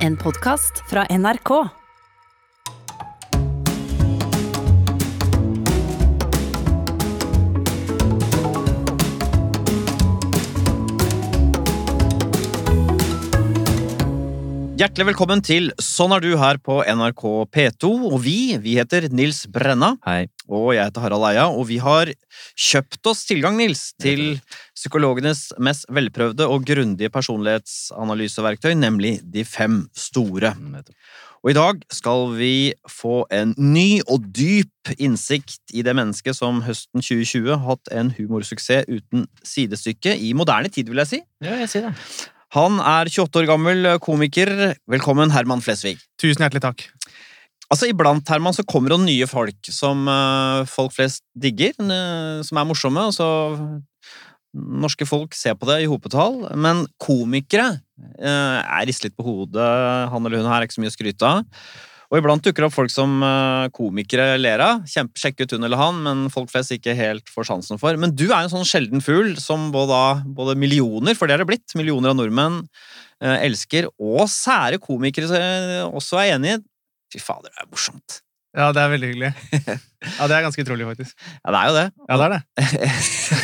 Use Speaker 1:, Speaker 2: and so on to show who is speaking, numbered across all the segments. Speaker 1: En podkast fra NRK.
Speaker 2: Hjertelig velkommen til Sånn er du her på NRK P2. Og vi, vi heter Nils Brenna.
Speaker 3: Hei.
Speaker 2: Og jeg heter Harald Eia. Og vi har kjøpt oss tilgang, Nils, til psykologenes mest velprøvde og grundige personlighetsanalyseverktøy, nemlig De fem store. Og i dag skal vi få en ny og dyp innsikt i det mennesket som høsten 2020 har hatt en humorsuksess uten sidestykke i moderne tid, vil jeg si.
Speaker 3: Ja, jeg sier det.
Speaker 2: Han er 28 år gammel komiker. Velkommen, Herman Flesvig.
Speaker 4: Tusen hjertelig takk.
Speaker 2: Altså, Iblant Herman, så kommer det nye folk som eh, folk flest digger, eh, som er morsomme. og så norske folk ser på det i hopetall. Men komikere eh, er ristet litt på hodet. Han eller hun her er ikke så mye å skryte av. Og iblant dukker det opp folk som eh, komikere ler av. Kjempe, sjekk ut hun eller han, men folk flest ikke helt får sansen for. Men du er en sånn sjelden fugl som både, både millioner, for det er det blitt, millioner av nordmenn eh, elsker, og sære komikere eh, også er enig i. Fy fader, det er morsomt.
Speaker 4: Ja, det er veldig hyggelig. Ja, det er ganske utrolig, faktisk.
Speaker 2: Ja, det er jo det.
Speaker 4: Ja, det er det. Ja,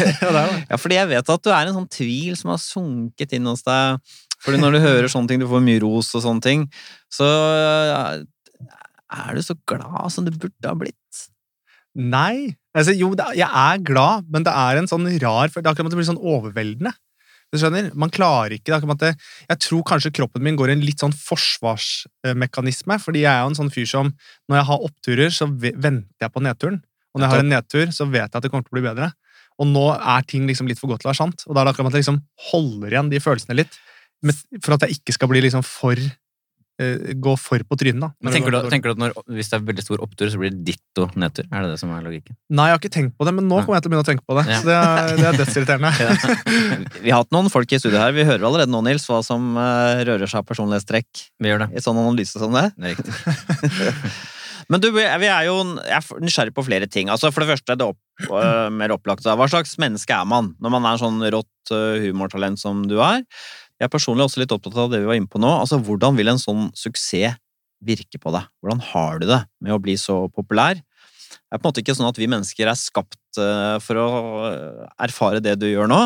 Speaker 4: det, er det.
Speaker 2: Ja, fordi jeg vet at du er en sånn tvil som har sunket inn hos deg. Fordi når du hører sånne ting, du får mye ros og sånne ting, så er du så glad som du burde ha blitt.
Speaker 4: Nei. Altså, jo, det, er- jeg er glad, men det er en sånn rar følelse. Det er akkurat som det blir sånn overveldende. Du skjønner? Man klarer ikke. Det er akkurat som at det, jeg tror kanskje kroppen min går i en litt sånn forsvarsmekanisme, fordi jeg er jo en sånn fyr som når jeg har oppturer, så ve- venter jeg på nedturen. Og når jeg har en nedtur, så vet jeg at det kommer til å bli bedre. Og nå er ting liksom litt for godt til å være sant, og da er det akkurat som at jeg liksom holder igjen de følelsene litt, men for at jeg ikke skal bli liksom for eh, Gå for på trynet, da.
Speaker 3: Men tenker du, tenker du at når, hvis det er veldig stor opptur, så blir det ditto nedtur? Er det det som er logikken?
Speaker 4: Nei, jeg har ikke tenkt på det, men nå
Speaker 3: Nei.
Speaker 4: kommer jeg til å begynne å tenke på det.
Speaker 3: Ja.
Speaker 4: Så det er, det er dødsirriterende.
Speaker 2: Vi har hatt noen folk i studio her. Vi hører allerede nå, Nils, hva som eh, rører seg av personlighetstrekk
Speaker 3: Vi gjør det.
Speaker 2: i sånn analyse som det.
Speaker 3: Det er riktig.
Speaker 2: Men du, vi er jo jeg er nysgjerrig på flere ting. Altså, for det første, det opp, øh, mer opplagte. Hva slags menneske er man når man er en sånn rått øh, humortalent som du er? Jeg er personlig også litt opptatt av det vi var inne på nå. Altså, Hvordan vil en sånn suksess virke på deg? Hvordan har du det med å bli så populær? Det er på en måte ikke sånn at vi mennesker er skapt øh, for å øh, erfare det du gjør nå.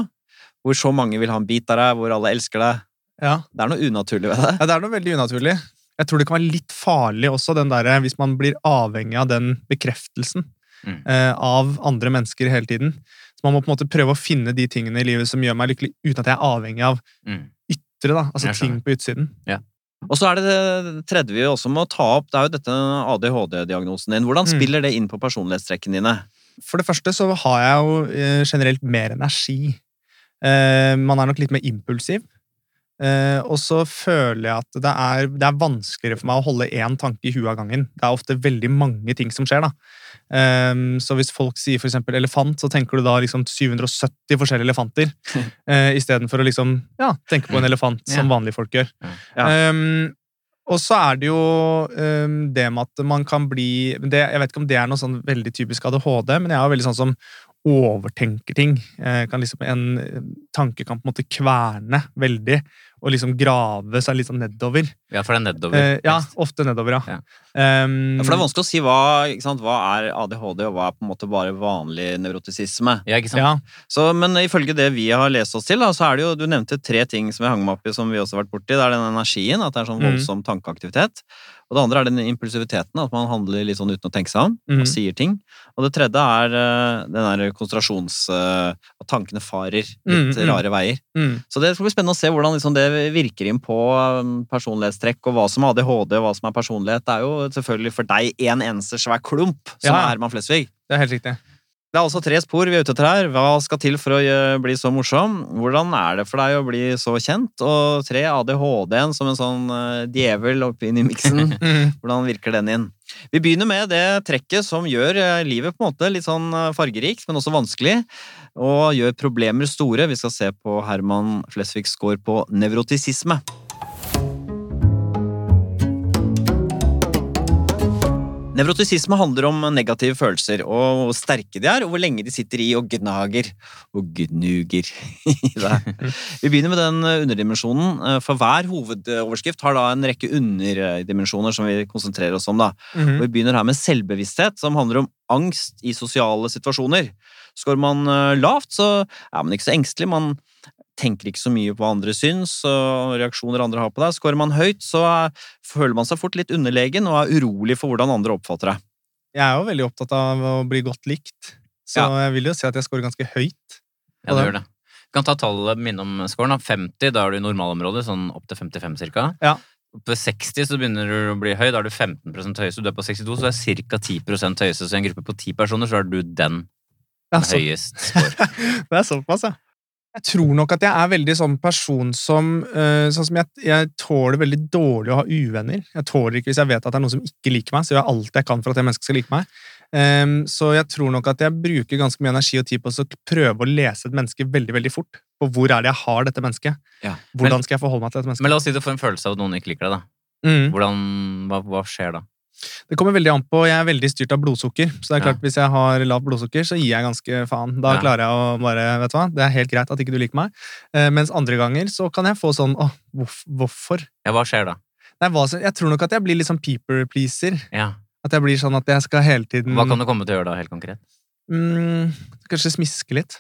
Speaker 2: Hvor så mange vil ha en bit av deg, hvor alle elsker deg.
Speaker 4: Ja.
Speaker 2: Det er noe unaturlig ved det.
Speaker 4: ja, Det er noe veldig unaturlig. Jeg tror det kan være litt farlig også, den der, eh, hvis man blir avhengig av den bekreftelsen
Speaker 3: Mm.
Speaker 4: eh, av andre mennesker hele tiden. Så man må på en måte prøve å finne de tingene i livet som gjør meg lykkelig, uten at jeg er avhengig av
Speaker 3: Mm.
Speaker 4: ytre, da. Altså
Speaker 3: Jeg skjønner.
Speaker 4: ting på utsiden.
Speaker 2: Og så er det det tredje vi også må ta opp, det er jo dette ADHD-diagnosen din. Hvordan
Speaker 4: Mm.
Speaker 2: spiller det inn på personlighetstrekkene dine?
Speaker 4: For det første så har jeg jo eh, generelt mer energi. Eh, man er nok litt mer impulsiv. Eh, og så føler jeg at det er, det er vanskeligere for meg å holde én tanke i huet av gangen. Det er ofte veldig mange ting som skjer, da. Ehm, så hvis folk sier for eksempel elefant, så tenker du da liksom 770 forskjellige elefanter. eh, Istedenfor å liksom ja, tenke på en elefant, som vanlige folk gjør.
Speaker 2: Ja.
Speaker 4: Ehm, og så er det jo ehm, det med at man kan bli det, Jeg vet ikke om det er noe sånn veldig typisk ADHD, men jeg er jo veldig sånn som overtenker ting. Eh, kan liksom, en eh, tanke kan på en måte kverne veldig, og liksom grave seg litt sånn nedover.
Speaker 3: Ja, for det er nedover.
Speaker 4: Eh, ja,
Speaker 3: helst.
Speaker 4: ofte nedover, ja.
Speaker 3: Ja.
Speaker 4: Ehm,
Speaker 2: Ja, For det er vanskelig å si hva, ikke sant? hva er ADHD, og hva er på en måte bare vanlig nevrotisisme.
Speaker 3: Ja, ikke sant?
Speaker 4: ja.
Speaker 2: Så, men ifølge det vi har lest oss til, da, så er det jo Du nevnte tre ting som jeg hang meg opp i, som vi også har vært borti. Det er den energien, at det er sånn
Speaker 4: Mm.
Speaker 2: voldsom tankeaktivitet. Og det andre er den impulsiviteten, at man handler litt sånn uten å tenke seg om.
Speaker 4: Mhm.
Speaker 2: Og sier ting. Og det tredje er eh, den der konsentrasjons... eh, At tankene farer litt
Speaker 4: Mm, mm.
Speaker 2: rare veier.
Speaker 4: Mm.
Speaker 2: Så det skal bli spennende å se hvordan liksom det virker inn på um, personlighetstrekk, og hva som er ADHD, og hva som er personlighet. Det er jo selvfølgelig for deg en eneste svær klump, som
Speaker 4: Ja.
Speaker 2: er Herman Flesvig.
Speaker 4: Det er helt riktig.
Speaker 2: Det er altså tre spor vi er ute etter her. Hva skal til for å eh, bli så morsom? Hvordan er det for deg å bli så kjent? Og tre, ADHD-en som en sånn eh, djevel oppi inn i miksen.
Speaker 4: Mm.
Speaker 2: Hvordan virker den inn? Vi begynner med det trekket som gjør eh, livet på en måte litt sånn eh, fargerikt, men også vanskelig, og gjør problemer store. Vi skal se på Herman Flesvigs score på nevrotisisme. Nevrotisisme handler om negative følelser, og hvor sterke de er, og hvor lenge de sitter i og gnager og gnuger i deg. Vi begynner med den eh, underdimensjonen, eh, for hver hovedoverskrift har da en rekke underdimensjoner som vi konsentrerer oss om. da. Og
Speaker 4: Mhm.
Speaker 2: vi begynner her med selvbevissthet, som handler om angst i sosiale situasjoner. Skårer man eh, lavt, så er man ikke så engstelig. Man tenker ikke så mye på hva andre syns og reaksjoner andre har på deg. Skårer man høyt, så er- føler man seg fort litt underlegen og er urolig for hvordan andre oppfatter deg.
Speaker 4: Jeg er jo veldig opptatt av å bli godt likt, så jeg vil jo si at jeg scorer ganske høyt.
Speaker 3: Ja, det gjør det. Du kan ta tallet minne om scoren. da. 50, da er du i normalområdet, sånn opp til 55 cirka.
Speaker 4: Ja.
Speaker 3: På 60 så begynner du å bli høy, da er du 15 høyest. Du er på 62, så er ca. 10 høyeste. Så i en gruppe på 10 personer, så er du den
Speaker 4: Ja, så,
Speaker 3: høyest score.
Speaker 4: det er såpass, ja. Jeg tror nok at jeg er veldig sånn person som eh, Sånn som jeg, jeg tåler veldig dårlig å ha uvenner. Jeg tåler ikke Hvis jeg vet at det er noen som ikke liker meg, så gjør jeg alt jeg kan for at det mennesket skal like meg. Ehm, så jeg tror nok at jeg bruker ganske mye energi og tid på å så prøve å lese et menneske veldig veldig fort. På hvor er det jeg har dette mennesket?
Speaker 2: Ja.
Speaker 4: Hvordan skal jeg forholde meg til dette mennesket?
Speaker 3: Men la oss si du får en følelse av at noen ikke liker deg, da.
Speaker 4: Mm.
Speaker 3: Hvordan, hva, hva skjer da?
Speaker 4: Det kommer veldig an på. Jeg er veldig styrt av blodsukker. Så det er
Speaker 3: Ja.
Speaker 4: klart, hvis jeg har lavt blodsukker, så gir jeg ganske faen. Da
Speaker 3: Ja.
Speaker 4: klarer jeg å bare Vet du hva, det er helt greit at ikke du liker meg. Eh, mens andre ganger så kan jeg få sånn åh, hvorf- hvorfor?
Speaker 3: Ja, hva skjer da?
Speaker 4: Nei, hva, som- jeg tror nok at jeg blir litt sånn people pleaser.
Speaker 3: Ja.
Speaker 4: At jeg blir sånn at jeg skal hele tiden
Speaker 3: Hva kan du komme til å gjøre da, helt konkret?
Speaker 4: mm, Kanskje smiske litt.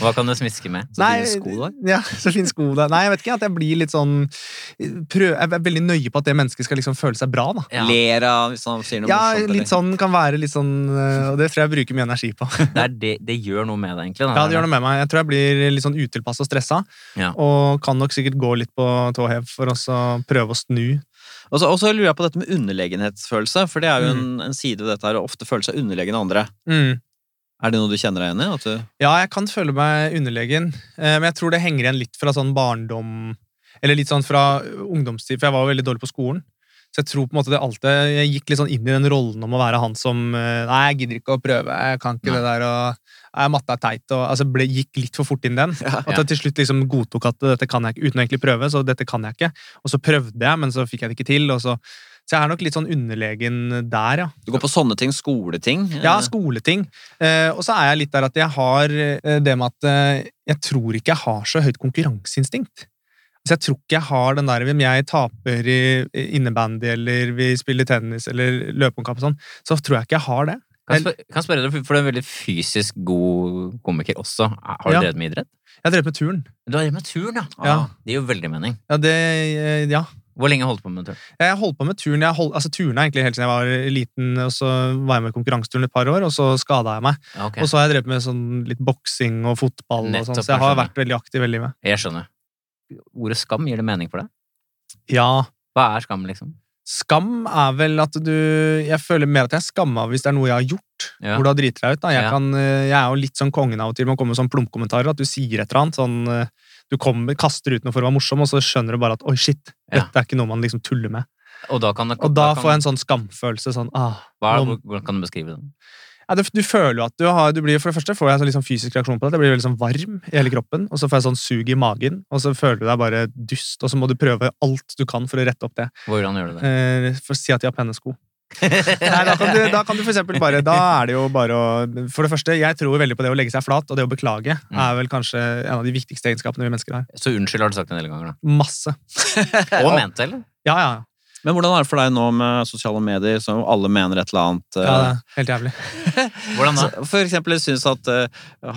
Speaker 3: Hva kan du smiske med?
Speaker 2: Så fine sko du har.
Speaker 4: Ja, så fin sko der. Nei, jeg vet ikke. At jeg blir litt sånn prøv, Jeg er veldig nøye på at det mennesket skal liksom føle seg bra, da.
Speaker 3: Ja.
Speaker 2: Ler av hvis han sier noe
Speaker 4: Ja,
Speaker 2: morsomt.
Speaker 4: litt sånn kan være litt sånn eh, Og det tror jeg jeg bruker mye energi på.
Speaker 3: Det, er det, det gjør noe med deg, egentlig. Da.
Speaker 4: Ja, det gjør noe med meg. Jeg tror jeg blir litt sånn utilpass og stressa.
Speaker 3: Ja.
Speaker 4: Og kan nok sikkert gå litt på tå hev for også å prøve å snu.
Speaker 2: Og så, og så lurer jeg på dette med underlegenhetsfølelse, for det er jo en,
Speaker 4: Mm.
Speaker 2: en side ved dette her å ofte føle seg underlegen andre. Er det noe du kjenner deg igjen i? At du
Speaker 4: Ja, jeg kan føle meg underlegen, eh, men jeg tror det henger igjen litt fra sånn barndom Eller litt sånn fra ungdomstid, for jeg var jo veldig dårlig på skolen. Så jeg tror på en måte det alltid Jeg gikk litt sånn inn i den rollen om å være han som eh, Nei, jeg gidder ikke å prøve, jeg kan ikke
Speaker 3: Nei.
Speaker 4: det der, og nei, matte er teit, og Altså ble, gikk litt for fort inn i den.
Speaker 2: Ja.
Speaker 4: At jeg til slutt liksom godtok at dette kan jeg ikke, uten å egentlig prøve, så dette kan jeg ikke. Og så prøvde jeg, men så fikk jeg det ikke til, og så Så jeg er nok litt sånn underlegen der, ja.
Speaker 2: Du går på sånne ting, skoleting?
Speaker 4: Ja,
Speaker 2: Eh,
Speaker 4: skoleting. Eh, og så er jeg litt der at jeg har eh, det med at eh, jeg tror ikke jeg har så høyt konkurranseinstinkt. Altså, jeg tror ikke jeg har den der Hvem jeg taper i i innebandy, eller vi spiller tennis, eller løpeomkamp og sånn, så tror jeg ikke jeg har det.
Speaker 3: Kan jeg spør- kan jeg spørre deg, for du er en veldig fysisk god komiker også. Har du
Speaker 4: Ja.
Speaker 3: drevet med idrett?
Speaker 4: Jeg har drevet med turn.
Speaker 3: Du har drevet med turn, ja.
Speaker 4: Ja.
Speaker 3: Ah, Det gir jo veldig mening.
Speaker 4: Ja, det eh, Ja.
Speaker 3: Hvor lenge holdt du på med turn?
Speaker 4: Jeg holdt på med turn. Jeg holdt, altså, turn er egentlig helt siden jeg var liten, og så var jeg med i konkurranseturn et par år, og så skada jeg meg.
Speaker 3: Ja, ok.
Speaker 4: Og så har jeg drevet med sånn litt boksing og fotball og sånn,
Speaker 3: Nettopp,
Speaker 4: så jeg har
Speaker 3: jeg skjønner.
Speaker 4: vært veldig aktiv i livet.
Speaker 3: Jeg skjønner. Ordet skam, gir det mening for deg?
Speaker 4: Ja.
Speaker 3: Hva er skam, liksom?
Speaker 4: Skam er vel at du Jeg føler mer at jeg er skamma hvis det er noe jeg har gjort.
Speaker 3: Ja.
Speaker 4: Hvor du har driti deg ut. da. Jeg,
Speaker 3: Ja.
Speaker 4: kan, eh, jeg er jo litt sånn kongen av og til med å komme med sånn plumpkommentarer. At du sier et eller annet. sånn... eh, Du kommer, kaster ut noe for å være morsom, og så skjønner du bare at 'oi, shit',
Speaker 3: Ja.
Speaker 4: dette er ikke noe man liksom tuller med.
Speaker 3: Og da kan det
Speaker 4: Og da
Speaker 3: kan,
Speaker 4: får jeg en sånn skamfølelse. sånn, ah,
Speaker 3: hva er,
Speaker 4: nå-
Speaker 3: hvor- Hvordan kan du beskrive den?
Speaker 4: ja, du, du føler jo at du har du blir, For det første får jeg en sånn litt sånn fysisk reaksjon på det. Jeg blir veldig sånn varm i hele kroppen, og så får jeg sånn sug i magen. Og så føler du deg bare dust, og så må du prøve alt du kan for å rette opp det.
Speaker 3: Hvordan gjør du det?
Speaker 4: Eh, for å si at de har pene sko. Nei, da kan, du, da kan du for eksempel bare Da er det jo bare å For det første, jeg tror veldig på det å legge seg flat, og det å beklage er vel kanskje en av de viktigste egenskapene vi mennesker har.
Speaker 3: Så unnskyld har du sagt en del ganger, da.
Speaker 4: Masse.
Speaker 3: Og mente, eller?
Speaker 4: Ja, ja. ja.
Speaker 2: Men hvordan er det for deg nå med sosiale medier, som alle mener et eller annet? eh,
Speaker 4: ja det er helt jævlig.
Speaker 3: Hvordan da?
Speaker 2: så- For eksempel syns at eh,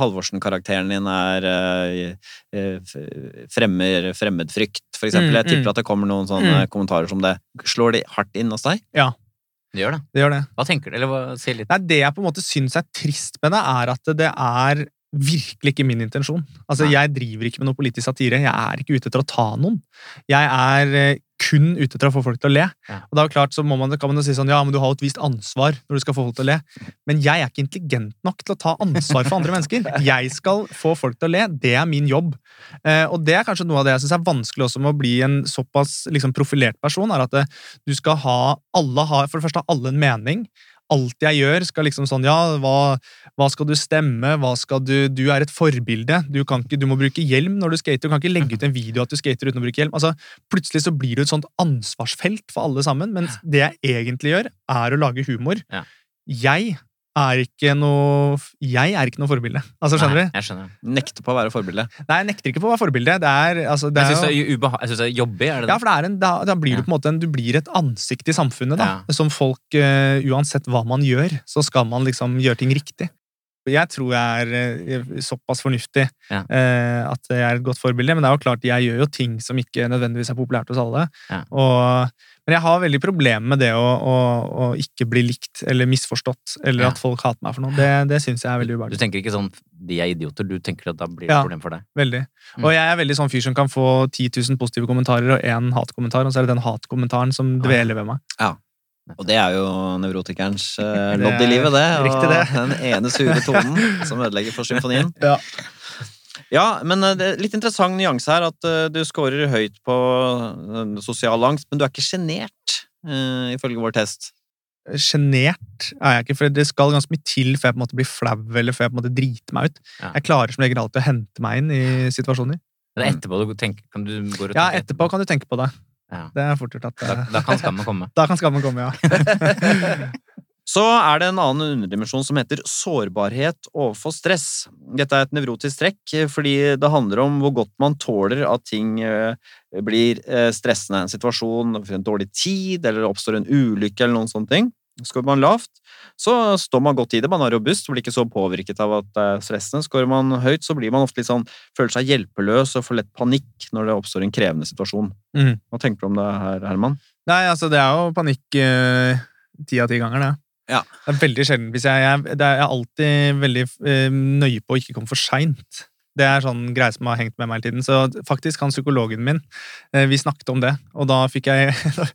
Speaker 2: Halvorsen-karakteren din er eh, eh, f- fremmer fremmedfrykt, for eksempel.
Speaker 4: Mm,
Speaker 2: Jeg tipper
Speaker 4: mm.
Speaker 2: at det kommer noen sånne
Speaker 4: Mm.
Speaker 2: eh, kommentarer som det. Slår de hardt inn hos deg?
Speaker 3: Det gjør det.
Speaker 4: Det gjør det.
Speaker 3: Hva tenker du? Eller hva, si litt.
Speaker 4: Nei, det jeg på en måte syns er trist med det, er at det er virkelig ikke min intensjon. Altså,
Speaker 3: Nei.
Speaker 4: Jeg driver ikke med noe politisk satire. Jeg er ikke ute etter å ta noen. Jeg er eh, kun ute etter å få folk til å le.
Speaker 3: Ja.
Speaker 4: Og da er det klart, så må man, kan man jo si sånn, ja, men du har jo et visst ansvar når du skal få folk til å le. Men jeg er ikke intelligent nok til å ta ansvar for andre mennesker. Jeg skal få folk til å le. Det er min jobb. Eh, og det er kanskje noe av det jeg syns er vanskelig også med å bli en såpass liksom, profilert person, er at eh, du skal ha alle har, For det første har alle en mening. alt jeg gjør, skal liksom sånn Ja, hva, hva skal du stemme? Hva skal du Du er et forbilde. Du, kan ikke, du må bruke hjelm når du skater. Du kan ikke legge ut en video at du skater uten å bruke hjelm. Altså, Plutselig så blir det et sånt ansvarsfelt for alle sammen. Mens det jeg egentlig gjør, er å lage humor.
Speaker 3: Ja.
Speaker 4: Jeg er ikke noe Jeg er ikke noe forbilde. Altså, skjønner du?
Speaker 3: Nei, jeg skjønner.
Speaker 2: Nekter på å være forbilde.
Speaker 4: Nei, jeg nekter ikke på å være forbilde. Det er, altså, det
Speaker 3: Jeg
Speaker 4: er
Speaker 3: syns
Speaker 4: jo-
Speaker 3: det er ubeha- jeg synes det er jobbig. Er det det?
Speaker 4: Ja, for det er en, da, da blir
Speaker 3: Ja.
Speaker 4: du på en måte en, du blir et ansikt i samfunnet, da. Som folk, eh, uansett hva man gjør, så skal man liksom gjøre ting riktig. Og Jeg tror jeg er eh, såpass fornuftig
Speaker 3: Ja.
Speaker 4: eh, at jeg er et godt forbilde, men det er jo klart, jeg gjør jo ting som ikke nødvendigvis er populært hos alle.
Speaker 3: Ja.
Speaker 4: Og, men jeg har veldig problemer med det å, å, å ikke bli likt eller misforstått, eller
Speaker 3: Ja.
Speaker 4: at folk hater meg for noe. Det, det syns jeg er veldig
Speaker 3: Du
Speaker 4: ubehagelig.
Speaker 3: tenker ikke sånn de er idioter, du tenker at da blir det
Speaker 4: Ja.
Speaker 3: et problem for deg.
Speaker 4: Veldig.
Speaker 3: Mm.
Speaker 4: Og jeg er veldig sånn fyr som kan få 10 000 positive kommentarer og én hatkommentar, og så er det den hatkommentaren som
Speaker 3: Ja.
Speaker 4: dveler ved meg.
Speaker 2: Og det er jo nevrotikerens eh,
Speaker 4: Det
Speaker 2: lodd i
Speaker 4: er
Speaker 2: livet, det. Og
Speaker 4: riktig det.
Speaker 2: den ene sure tonen som ødelegger for symfonien.
Speaker 4: Ja.
Speaker 2: Ja, men eh, det er litt interessant nyanse her at eh, du scorer høyt på eh, sosial angst, men du er ikke sjenert, eh, ifølge vår test.
Speaker 4: sjenert Eh, er jeg ikke, for det skal ganske mye til før jeg på en måte blir flau eller før jeg på en måte driter meg ut.
Speaker 3: Ja.
Speaker 4: Jeg klarer som regel alltid å hente meg inn i situasjoner.
Speaker 3: Men etterpå du tenker, kan du gå og
Speaker 4: Mm. Ja,
Speaker 3: tenke
Speaker 4: etterpå kan du tenke på det.
Speaker 3: Ja.
Speaker 4: Det er fort gjort at
Speaker 3: Da,
Speaker 4: eh,
Speaker 3: da kan skammen komme.
Speaker 4: Da kan skammen komme, ja.
Speaker 2: Så er det en annen underdimensjon som heter sårbarhet overfor stress. Dette er et nevrotisk trekk eh, fordi det handler om hvor godt man tåler at ting eh, blir eh, stressende. En situasjon, for en dårlig tid, eller det oppstår en ulykke eller noen sånne ting. Skårer man lavt, så står man godt i det. Man er robust, blir ikke så påvirket av at det er stressende. Skårer man høyt, så blir man ofte litt sånn, føler seg hjelpeløs og får lett panikk når det oppstår en krevende situasjon.
Speaker 4: Mhm.
Speaker 2: Hva tenker du om det her, Herman?
Speaker 4: Nei, altså, det er jo panikk eh, ti av ti ganger, det.
Speaker 2: Ja.
Speaker 4: Det er veldig sjelden. Hvis jeg, jeg, det er, jeg er alltid veldig eh, nøye på å ikke komme for seint. Det er sånn greie som har hengt med meg hele tiden. Så faktisk han psykologen min, eh, vi snakket om det, og da fikk jeg, da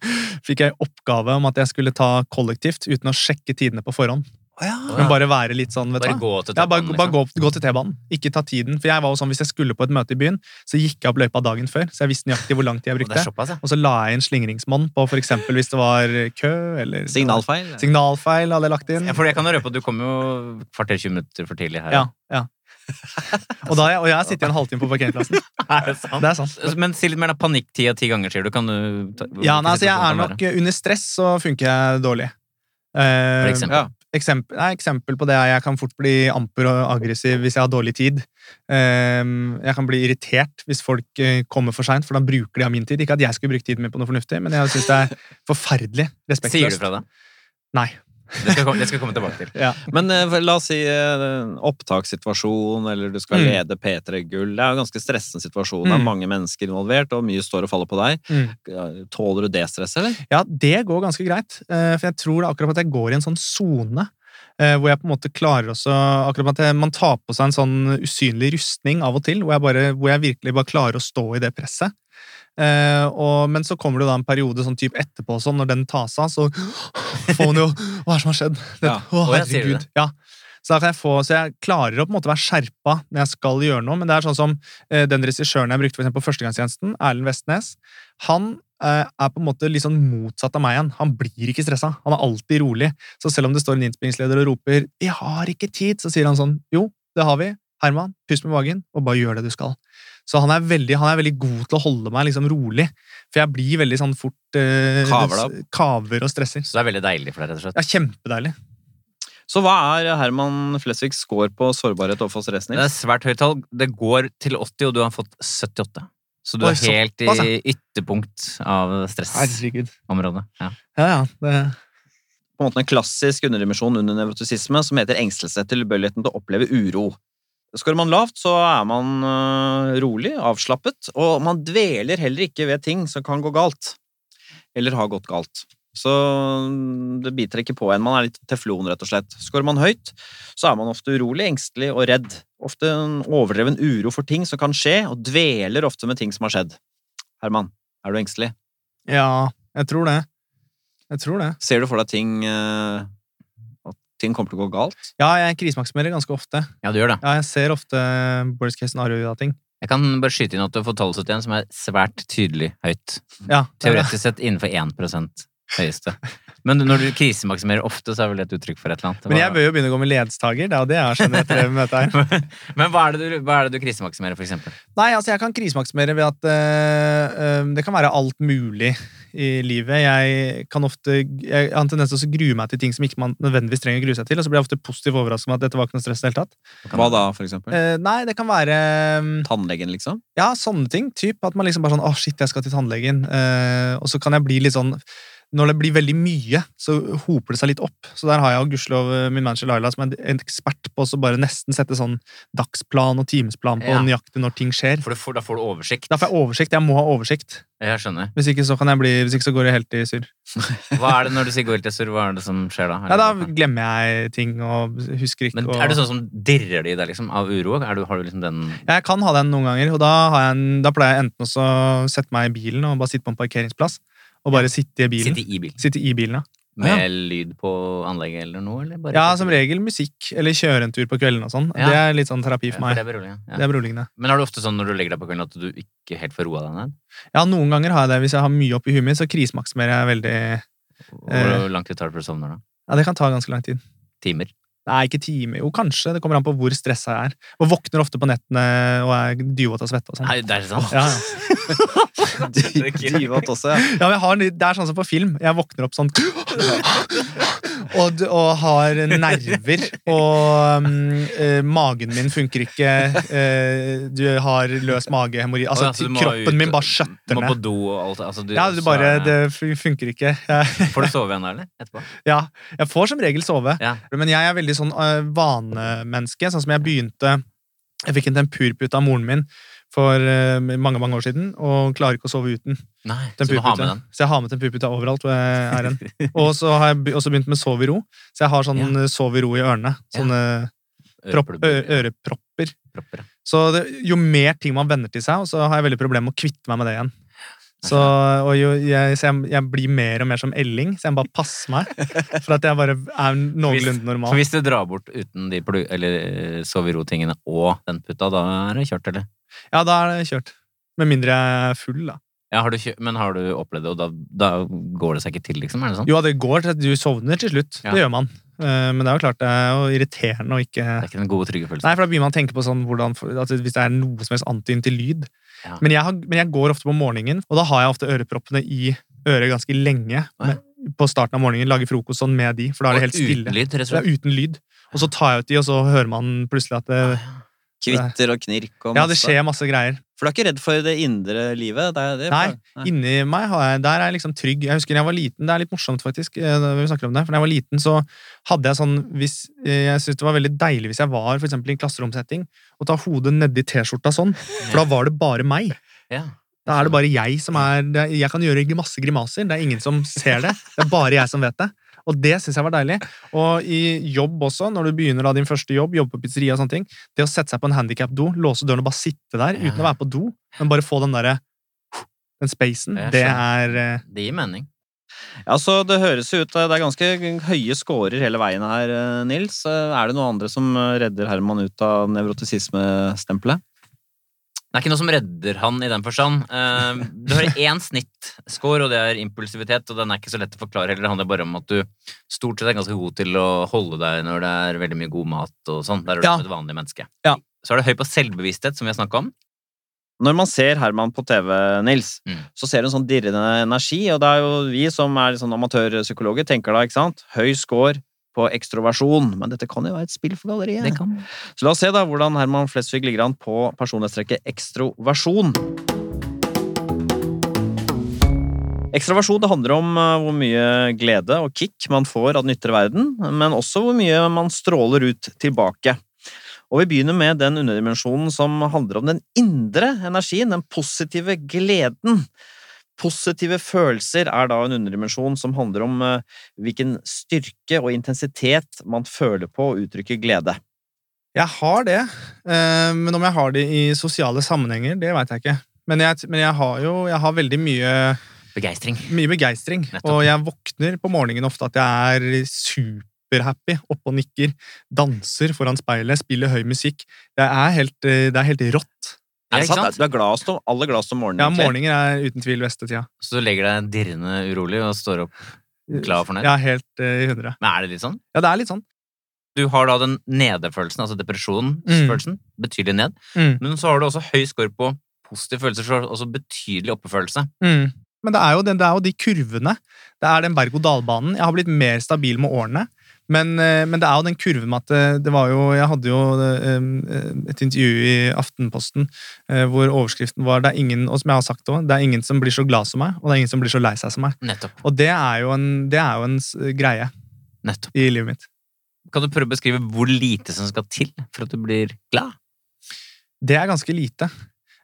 Speaker 4: fikk jeg oppgave om at jeg skulle ta kollektivt uten å sjekke tidene på forhånd.
Speaker 3: Å,
Speaker 4: Men
Speaker 3: ja.
Speaker 4: bare være litt sånn, vet du
Speaker 3: Bare
Speaker 4: hva.
Speaker 3: gå til
Speaker 4: Ja, bare,
Speaker 3: tettbanen,
Speaker 4: bare
Speaker 3: liksom.
Speaker 4: gå, gå til T-banen. Ikke ta tiden. For jeg var jo sånn, hvis jeg skulle på et møte i byen, så gikk jeg opp løypa dagen før. Så jeg visste nøyaktig hvor lang tid jeg
Speaker 3: Å, Det
Speaker 4: brukte.
Speaker 3: er såpass, ja.
Speaker 4: Og så la jeg inn slingringsmonn på for eksempel hvis det var kø eller
Speaker 2: Signalfeil?
Speaker 4: Signalfeil hadde jeg lagt inn.
Speaker 3: ja. For jeg kan jo røpe at du kom jo kvarter 20 minutter for tidlig her.
Speaker 4: Ja, ja. Og, da, jeg- og jeg har sittet en halvtime på parkeringsplassen.
Speaker 3: Er det sant?
Speaker 4: Det er sant.
Speaker 3: Men si litt mer da. Panikk ti av ti ganger, sier du. Kan du ta,
Speaker 4: Ja,
Speaker 3: hvilken
Speaker 4: nei, altså jeg er
Speaker 3: situasjon kan
Speaker 4: nok
Speaker 3: det være?
Speaker 4: Under stress så funker jeg dårlig. Eh,
Speaker 3: For eksempel.
Speaker 2: Ja.
Speaker 4: eksempel, nei, eksempel på det er jeg kan fort bli amper og aggressiv hvis jeg har dårlig tid. Ehm, jeg kan bli irritert hvis folk eh, kommer for seint, for da bruker de av min tid. Ikke at jeg skulle brukt tiden min på noe fornuftig, men jeg syns det er forferdelig
Speaker 3: Sier du
Speaker 4: respektløst.
Speaker 3: fra deg?
Speaker 4: Nei.
Speaker 3: Det skal, komme- det skal jeg komme tilbake til.
Speaker 4: Ja.
Speaker 2: Men eh, la oss si eh, opptakssituasjon, eller du skal
Speaker 4: Mm.
Speaker 2: lede P3 Gull. Det er jo en ganske stressende situasjon. Det er
Speaker 4: Mm.
Speaker 2: mange mennesker involvert, og mye står og faller på deg.
Speaker 4: Mm.
Speaker 2: Tåler du det stresset, eller?
Speaker 4: Ja, det går ganske greit. eh, For jeg tror det er akkurat på at jeg går i en sånn sone. eh, Hvor jeg på en måte klarer også akkurat på at jeg- Man tar på seg en sånn usynlig rustning av og til, hvor jeg, bare, hvor jeg virkelig bare klarer å stå i det presset. Eh, og, men så kommer det da en periode sånn typ etterpå, og sånn, når den tas av, så får man jo Hva er det som har skjedd? Det,
Speaker 2: Ja,
Speaker 4: Å,
Speaker 3: og jeg sier
Speaker 4: herregud.
Speaker 3: det.
Speaker 4: Ja. Så, da kan jeg få, så jeg klarer å på en måte være skjerpa når jeg skal gjøre noe. Men det er sånn som eh, den regissøren jeg brukte for eksempel på Førstegangstjenesten, Erlend Vestnes, han eh, er på en måte litt sånn motsatt av meg igjen. Han blir ikke stressa. Han er alltid rolig. Så selv om det står en innspillingsleder og roper 'Jeg har ikke tid', så sier han sånn 'Jo, det har vi. Herman, pust med magen, og bare gjør det du skal'. Så han er veldig, han er veldig god til å holde meg liksom rolig. For jeg blir veldig sånn fort eh,
Speaker 2: Kaver deg opp.
Speaker 4: kaver og stresser.
Speaker 3: Så det er veldig deilig for deg, rett og slett.
Speaker 4: Det er kjempedeilig.
Speaker 2: Så hva er Herman Flesvigs score på sårbarhet overfor stress,
Speaker 3: Det
Speaker 2: Nils?
Speaker 3: er svært høyt tall. Det går til 80, og du har fått 78. Så du
Speaker 4: Oi,
Speaker 3: er helt
Speaker 4: såpass,
Speaker 3: i ytterpunkt av stressområdet.
Speaker 4: Herregud.
Speaker 3: Ja.
Speaker 4: Ja, ja. Det,
Speaker 2: På en måte en klassisk underdimensjon under nevrotisisme som heter engstelse, tilbøyeligheten til å oppleve uro. Skårer man lavt, så er man øh, rolig, avslappet, og man dveler heller ikke ved ting som kan gå galt. Eller har gått galt. Så mm, det biter ikke på en. Man er litt teflon, rett og slett. Skårer man høyt, så er man ofte urolig, engstelig og redd. Ofte en overdreven uro for ting som kan skje, og dveler ofte med ting som har skjedd. Herman, er du engstelig?
Speaker 4: ja, jeg tror det. Jeg tror det.
Speaker 2: Ser du for deg ting øh, At ting kommer til å gå galt?
Speaker 4: Ja, jeg krisemaksimerer ganske ofte.
Speaker 3: ja, du gjør det.
Speaker 4: Ja, jeg ser ofte eh, worst case scenario av ting.
Speaker 3: Jeg kan bare skyte inn at du har fått tallet 71, som er svært tydelig høyt.
Speaker 4: Ja, det er det.
Speaker 3: Teoretisk sett innenfor 1 høyeste. Men når du krisemaksimerer ofte, så er vel det et uttrykk for et eller annet.
Speaker 4: Men jeg bør jo begynne å gå med ledstager. Det er jo det jeg skjønner etter det møtet her.
Speaker 3: Men hva er det du, hva er det du krisemaksimerer, for eksempel?
Speaker 4: Nei, altså jeg kan krisemaksimere ved at øh, øh, det kan være alt mulig i livet. Jeg kan ofte jeg har en tendens til å grue meg til ting som ikke man nødvendigvis trenger å grue seg til, og så blir jeg ofte positivt overrasket med at dette var ikke noe stress i det hele tatt.
Speaker 2: Hva da, for eksempel?
Speaker 4: Eh, nei, det kan være øh,
Speaker 2: Tannlegen, liksom?
Speaker 4: Ja, sånne ting. Typ at man liksom bare sånn Å, shit, jeg skal til tannlegen. Eh, og så kan jeg bli litt sånn Når det blir veldig mye, så hoper det seg litt opp. Så der har jeg og gudskjelov eh, min manager Laila, som er en ekspert på å så bare nesten sette sånn dagsplan og timesplan på
Speaker 3: Ja.
Speaker 4: nøyaktig når ting skjer.
Speaker 3: For du får, da får du oversikt.
Speaker 4: Da får jeg oversikt. Jeg må ha oversikt.
Speaker 3: Jeg skjønner.
Speaker 4: Hvis ikke så kan jeg bli Hvis ikke så går det helt i surr.
Speaker 3: Hva er det når du sier gorillasur, hva er det som skjer da?
Speaker 4: Ja, da glemmer jeg ting og husker ikke
Speaker 3: Men
Speaker 4: og
Speaker 3: er det sånn som dirrer det i deg liksom, av uro? Er du, har du liksom den
Speaker 4: Jeg kan ha den noen ganger, og da, har jeg en, da pleier jeg enten også å sette meg i bilen og bare sitte på en parkeringsplass. Og bare sitte i bilen.
Speaker 3: Sitte i bil
Speaker 4: Sitte i bilen, ja.
Speaker 3: med lyd på anlegget eller noe? Eller bare
Speaker 4: Ja, som regel musikk, eller kjøre en tur på kvelden og sånn.
Speaker 3: Ja.
Speaker 4: Det er litt sånn terapi
Speaker 3: Ja,
Speaker 4: for
Speaker 3: for
Speaker 4: meg.
Speaker 3: det er beroligende.
Speaker 4: Det
Speaker 3: Ja.
Speaker 4: er beroligende.
Speaker 3: Men er det ofte sånn når du legger deg på kvelden at du ikke helt får roa deg ned?
Speaker 4: Ja, noen ganger har jeg det. Hvis jeg har mye oppi huet mitt, så krisemaksimerer jeg veldig Eh.
Speaker 3: Hvor lang tid tar det før du sovner da?
Speaker 4: Ja, det kan ta ganske lang tid.
Speaker 3: Timer?
Speaker 4: Nei, ikke time. Jo, kanskje. Det kommer an på hvor stressa jeg er. Og våkner ofte på nettene og er dyvåt av svette og sånn.
Speaker 3: Nei, det er sant!
Speaker 4: Ja, ja.
Speaker 2: Dyvåt også, ja.
Speaker 4: Ja, men jeg har, en- det er sånn som på film. Jeg våkner opp sånn og, d- og har nerver. Og mm, eh, magen min funker ikke. eh, du har løs magehemori. Altså,
Speaker 3: Å, ja, så du må ut-
Speaker 4: kroppen min bare skjøtter
Speaker 3: Må på
Speaker 4: ned.
Speaker 3: do og alt altså, du,
Speaker 4: Ja, du
Speaker 3: så
Speaker 4: bare,
Speaker 3: er-
Speaker 4: det fun- funker ikke. Jeg,
Speaker 3: Får du sove igjen da, eller? Etterpå?
Speaker 4: ja, jeg får som regel sove.
Speaker 3: Ja.
Speaker 4: Men jeg er veldig sånn øh, vanemenneske. Sånn som jeg begynte Jeg fikk en tempurpute av moren min for øh, mange mange år siden, og klarer ikke å sove uten.
Speaker 3: Nei, så du har
Speaker 4: Tempurpute.
Speaker 3: med den.
Speaker 4: Så jeg har med tempurpute overalt hvor jeg er hen. Og så har jeg be- også begynt med sov i ro. Så jeg har sånn øh, sov i ro i ørene. Sånne propp, ø-
Speaker 3: Øreplugger,
Speaker 4: ørepropper.
Speaker 3: propper, ja.
Speaker 4: Så det, jo mer ting man venner til seg, og så har jeg veldig problemer med å kvitte meg med det igjen. Så, og jo, jeg, så jeg, jeg blir mer og mer som Elling, så jeg må bare passer meg. For at jeg bare er noenlunde
Speaker 3: Så
Speaker 4: normal.
Speaker 3: hvis du drar bort uten de plu- eller eh, sov i ro-tingene og den puta, da er det kjørt, eller?
Speaker 4: Ja, da er det kjørt. Med mindre jeg er full, da.
Speaker 3: Ja, har du kjø men har du opplevd det, og da, da går det seg ikke til, liksom? Er det sånn?
Speaker 4: Jo, det går til at du sovner til slutt.
Speaker 3: Ja.
Speaker 4: Det gjør man. Eh, Men det er jo klart det er jo irriterende å ikke
Speaker 3: Det er ikke den gode, trygge følelsen.
Speaker 4: Nei, for da begynner man å tenke på sånn hvordan, at hvis det er noe som helst antydning til lyd.
Speaker 3: Ja.
Speaker 4: Men, jeg har, men jeg går ofte på morgenen, og da har jeg ofte øreproppene i øret ganske lenge.
Speaker 3: Å, ja.
Speaker 4: Men på starten av morgenen lager frokost sånn med de, for da er det helt
Speaker 3: Uten
Speaker 4: stille.
Speaker 3: lyd, rett og
Speaker 4: Det
Speaker 3: slett.
Speaker 4: er uten lyd. Og så tar jeg ut de, og så hører man plutselig at det,
Speaker 3: Ah,
Speaker 2: Kvitter og knirk og
Speaker 4: ja, det skjer masse greier.
Speaker 2: For du er ikke redd for det indre livet? Det er det,
Speaker 4: Nei, Inni meg har jeg, der er jeg liksom trygg. Jeg husker da jeg var liten, det er litt morsomt faktisk, eh, når vi snakker om det, for da jeg var liten så hadde jeg sånn, hvis, eh, jeg syntes det var veldig deilig hvis jeg var for eksempel i en klasseromsetting, og ta hodet ned i t-skjorta sånn, for da var det bare meg.
Speaker 3: Ja.
Speaker 4: Da er det bare jeg som er det er- Jeg kan gjøre masse grimaser. Det er ingen som ser det. Det er bare jeg som vet det. Og det syns jeg var deilig. Og i jobb også, når du begynner da din første jobb, jobbe på pizzeria og sånne ting, det å sette seg på en handikap-do, låse døren og bare sitte der
Speaker 3: Ja.
Speaker 4: uten å være på do, men bare få den derre den spacen,
Speaker 3: Jeg
Speaker 4: det
Speaker 3: skjønner.
Speaker 4: er eh,
Speaker 3: Det gir mening.
Speaker 2: Ja, så Det høres jo ut Det er ganske høye scorer hele veien her, eh, Nils. Eh, Er det noen andre som eh, redder Herman ut av nevrotisismestempelet?
Speaker 3: Det er ikke noe som redder han i den forstand. Eh, Du har én snittscore, og det er impulsivitet, og den er ikke så lett å forklare heller. Det handler bare om at du stort sett er ganske god til å holde deg når det er veldig mye god mat og sånn. Der er du
Speaker 4: Ja.
Speaker 3: som et vanlig menneske.
Speaker 4: Ja.
Speaker 3: Så er det høy på selvbevissthet, som vi har snakka om.
Speaker 2: Når man ser Herman på TV, Nils,
Speaker 3: Mm.
Speaker 2: så ser du en sånn dirrende energi, og det er jo vi som er litt sånn amatørpsykologer, tenker da, ikke sant? Høy score på ekstroversjon, men dette kan jo være et spill for galleriet.
Speaker 3: Det kan
Speaker 2: Så la oss se da hvordan Herman Flesvig ligger an på personlighetstrekket ekstroversjon. Ekstroversjon det handler om eh, hvor mye glede og kick man får av den ytre verden, men også hvor mye man stråler ut tilbake. Og Vi begynner med den underdimensjonen som handler om den indre energien, den positive gleden. Positive følelser er da en underdimensjon som handler om eh, hvilken styrke og intensitet man føler på å uttrykke glede.
Speaker 4: Jeg har det, eh, men om jeg har det i sosiale sammenhenger, det veit jeg ikke. Men jeg, men jeg har jo jeg har veldig mye
Speaker 3: Begeistring.
Speaker 4: Mye begeistring.
Speaker 3: Nettopp.
Speaker 4: Og jeg våkner på morgenen ofte at jeg er superhappy, oppe og nikker, danser foran speilet, spiller høy musikk. Det er helt, eh, det er helt rått.
Speaker 3: Er
Speaker 2: Er
Speaker 3: det ikke sant?
Speaker 2: Du er gladest om, aller gladest om morgenen.
Speaker 4: Ja,
Speaker 2: egentlig.
Speaker 4: morgener er uten tvil beste tida.
Speaker 3: Så du legger deg dirrende urolig og står opp. Glad og fornøyd?
Speaker 4: Ja, helt eh, i hundre.
Speaker 3: Men er det litt sånn?
Speaker 4: Ja, det er litt sånn.
Speaker 3: Du har da den nedefølelsen, altså depresjonsfølelsen, betydelig ned.
Speaker 4: Mm.
Speaker 3: Men så har du også høy score på positive følelser, så har du også betydelig oppefølelse.
Speaker 4: Mm. Men det er, jo den, det er jo de kurvene. Det er den berg-og-dal-banen. Jeg har blitt mer stabil med årene. Men, eh, men det er jo den kurven med at eh, det, det var jo Jeg hadde jo eh, et intervju i Aftenposten eh, hvor overskriften var det er ingen, og som jeg har sagt også, det er ingen som blir så glad som meg, og det er ingen som blir så lei seg som meg.
Speaker 3: Nettopp.
Speaker 4: Og det er jo en, det er jo en s- greie
Speaker 3: Nettopp.
Speaker 4: i livet mitt.
Speaker 3: Kan du prøve å beskrive hvor lite som skal til for at du blir glad?
Speaker 4: Det er ganske lite.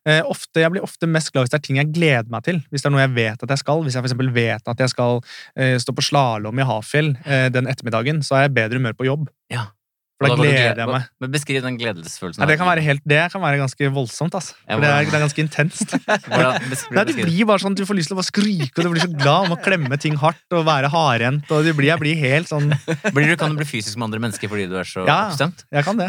Speaker 4: Eh, ofte, jeg blir ofte mest glad hvis det er ting jeg gleder meg til. Hvis det er noe jeg vet at jeg skal. Hvis jeg for eksempel vet at jeg skal eh, stå på slalåm i Hafjell eh, den ettermiddagen, så har jeg bedre humør på jobb.
Speaker 3: Ja.
Speaker 4: For da
Speaker 3: Og da kan du
Speaker 4: gleder
Speaker 3: glede-
Speaker 4: jeg meg.
Speaker 3: Men beskriv den gledesfølelsen.
Speaker 4: Nei, det, kan være helt, det kan være ganske voldsomt, altså.
Speaker 3: Ja,
Speaker 4: For det, er,
Speaker 3: hvordan-
Speaker 4: det er ganske intenst.
Speaker 3: Hvordan beskriv,
Speaker 4: Nei, det
Speaker 3: beskriv.
Speaker 4: blir bare sånn, Du får lyst til å bare skrike, og du blir så glad om å klemme ting hardt og være hardhendt. og det blir, Jeg blir helt sånn
Speaker 3: Blir du, kan du bli fysisk med andre mennesker fordi du er så
Speaker 4: Ja.
Speaker 3: oppstemt?
Speaker 4: Jeg kan det.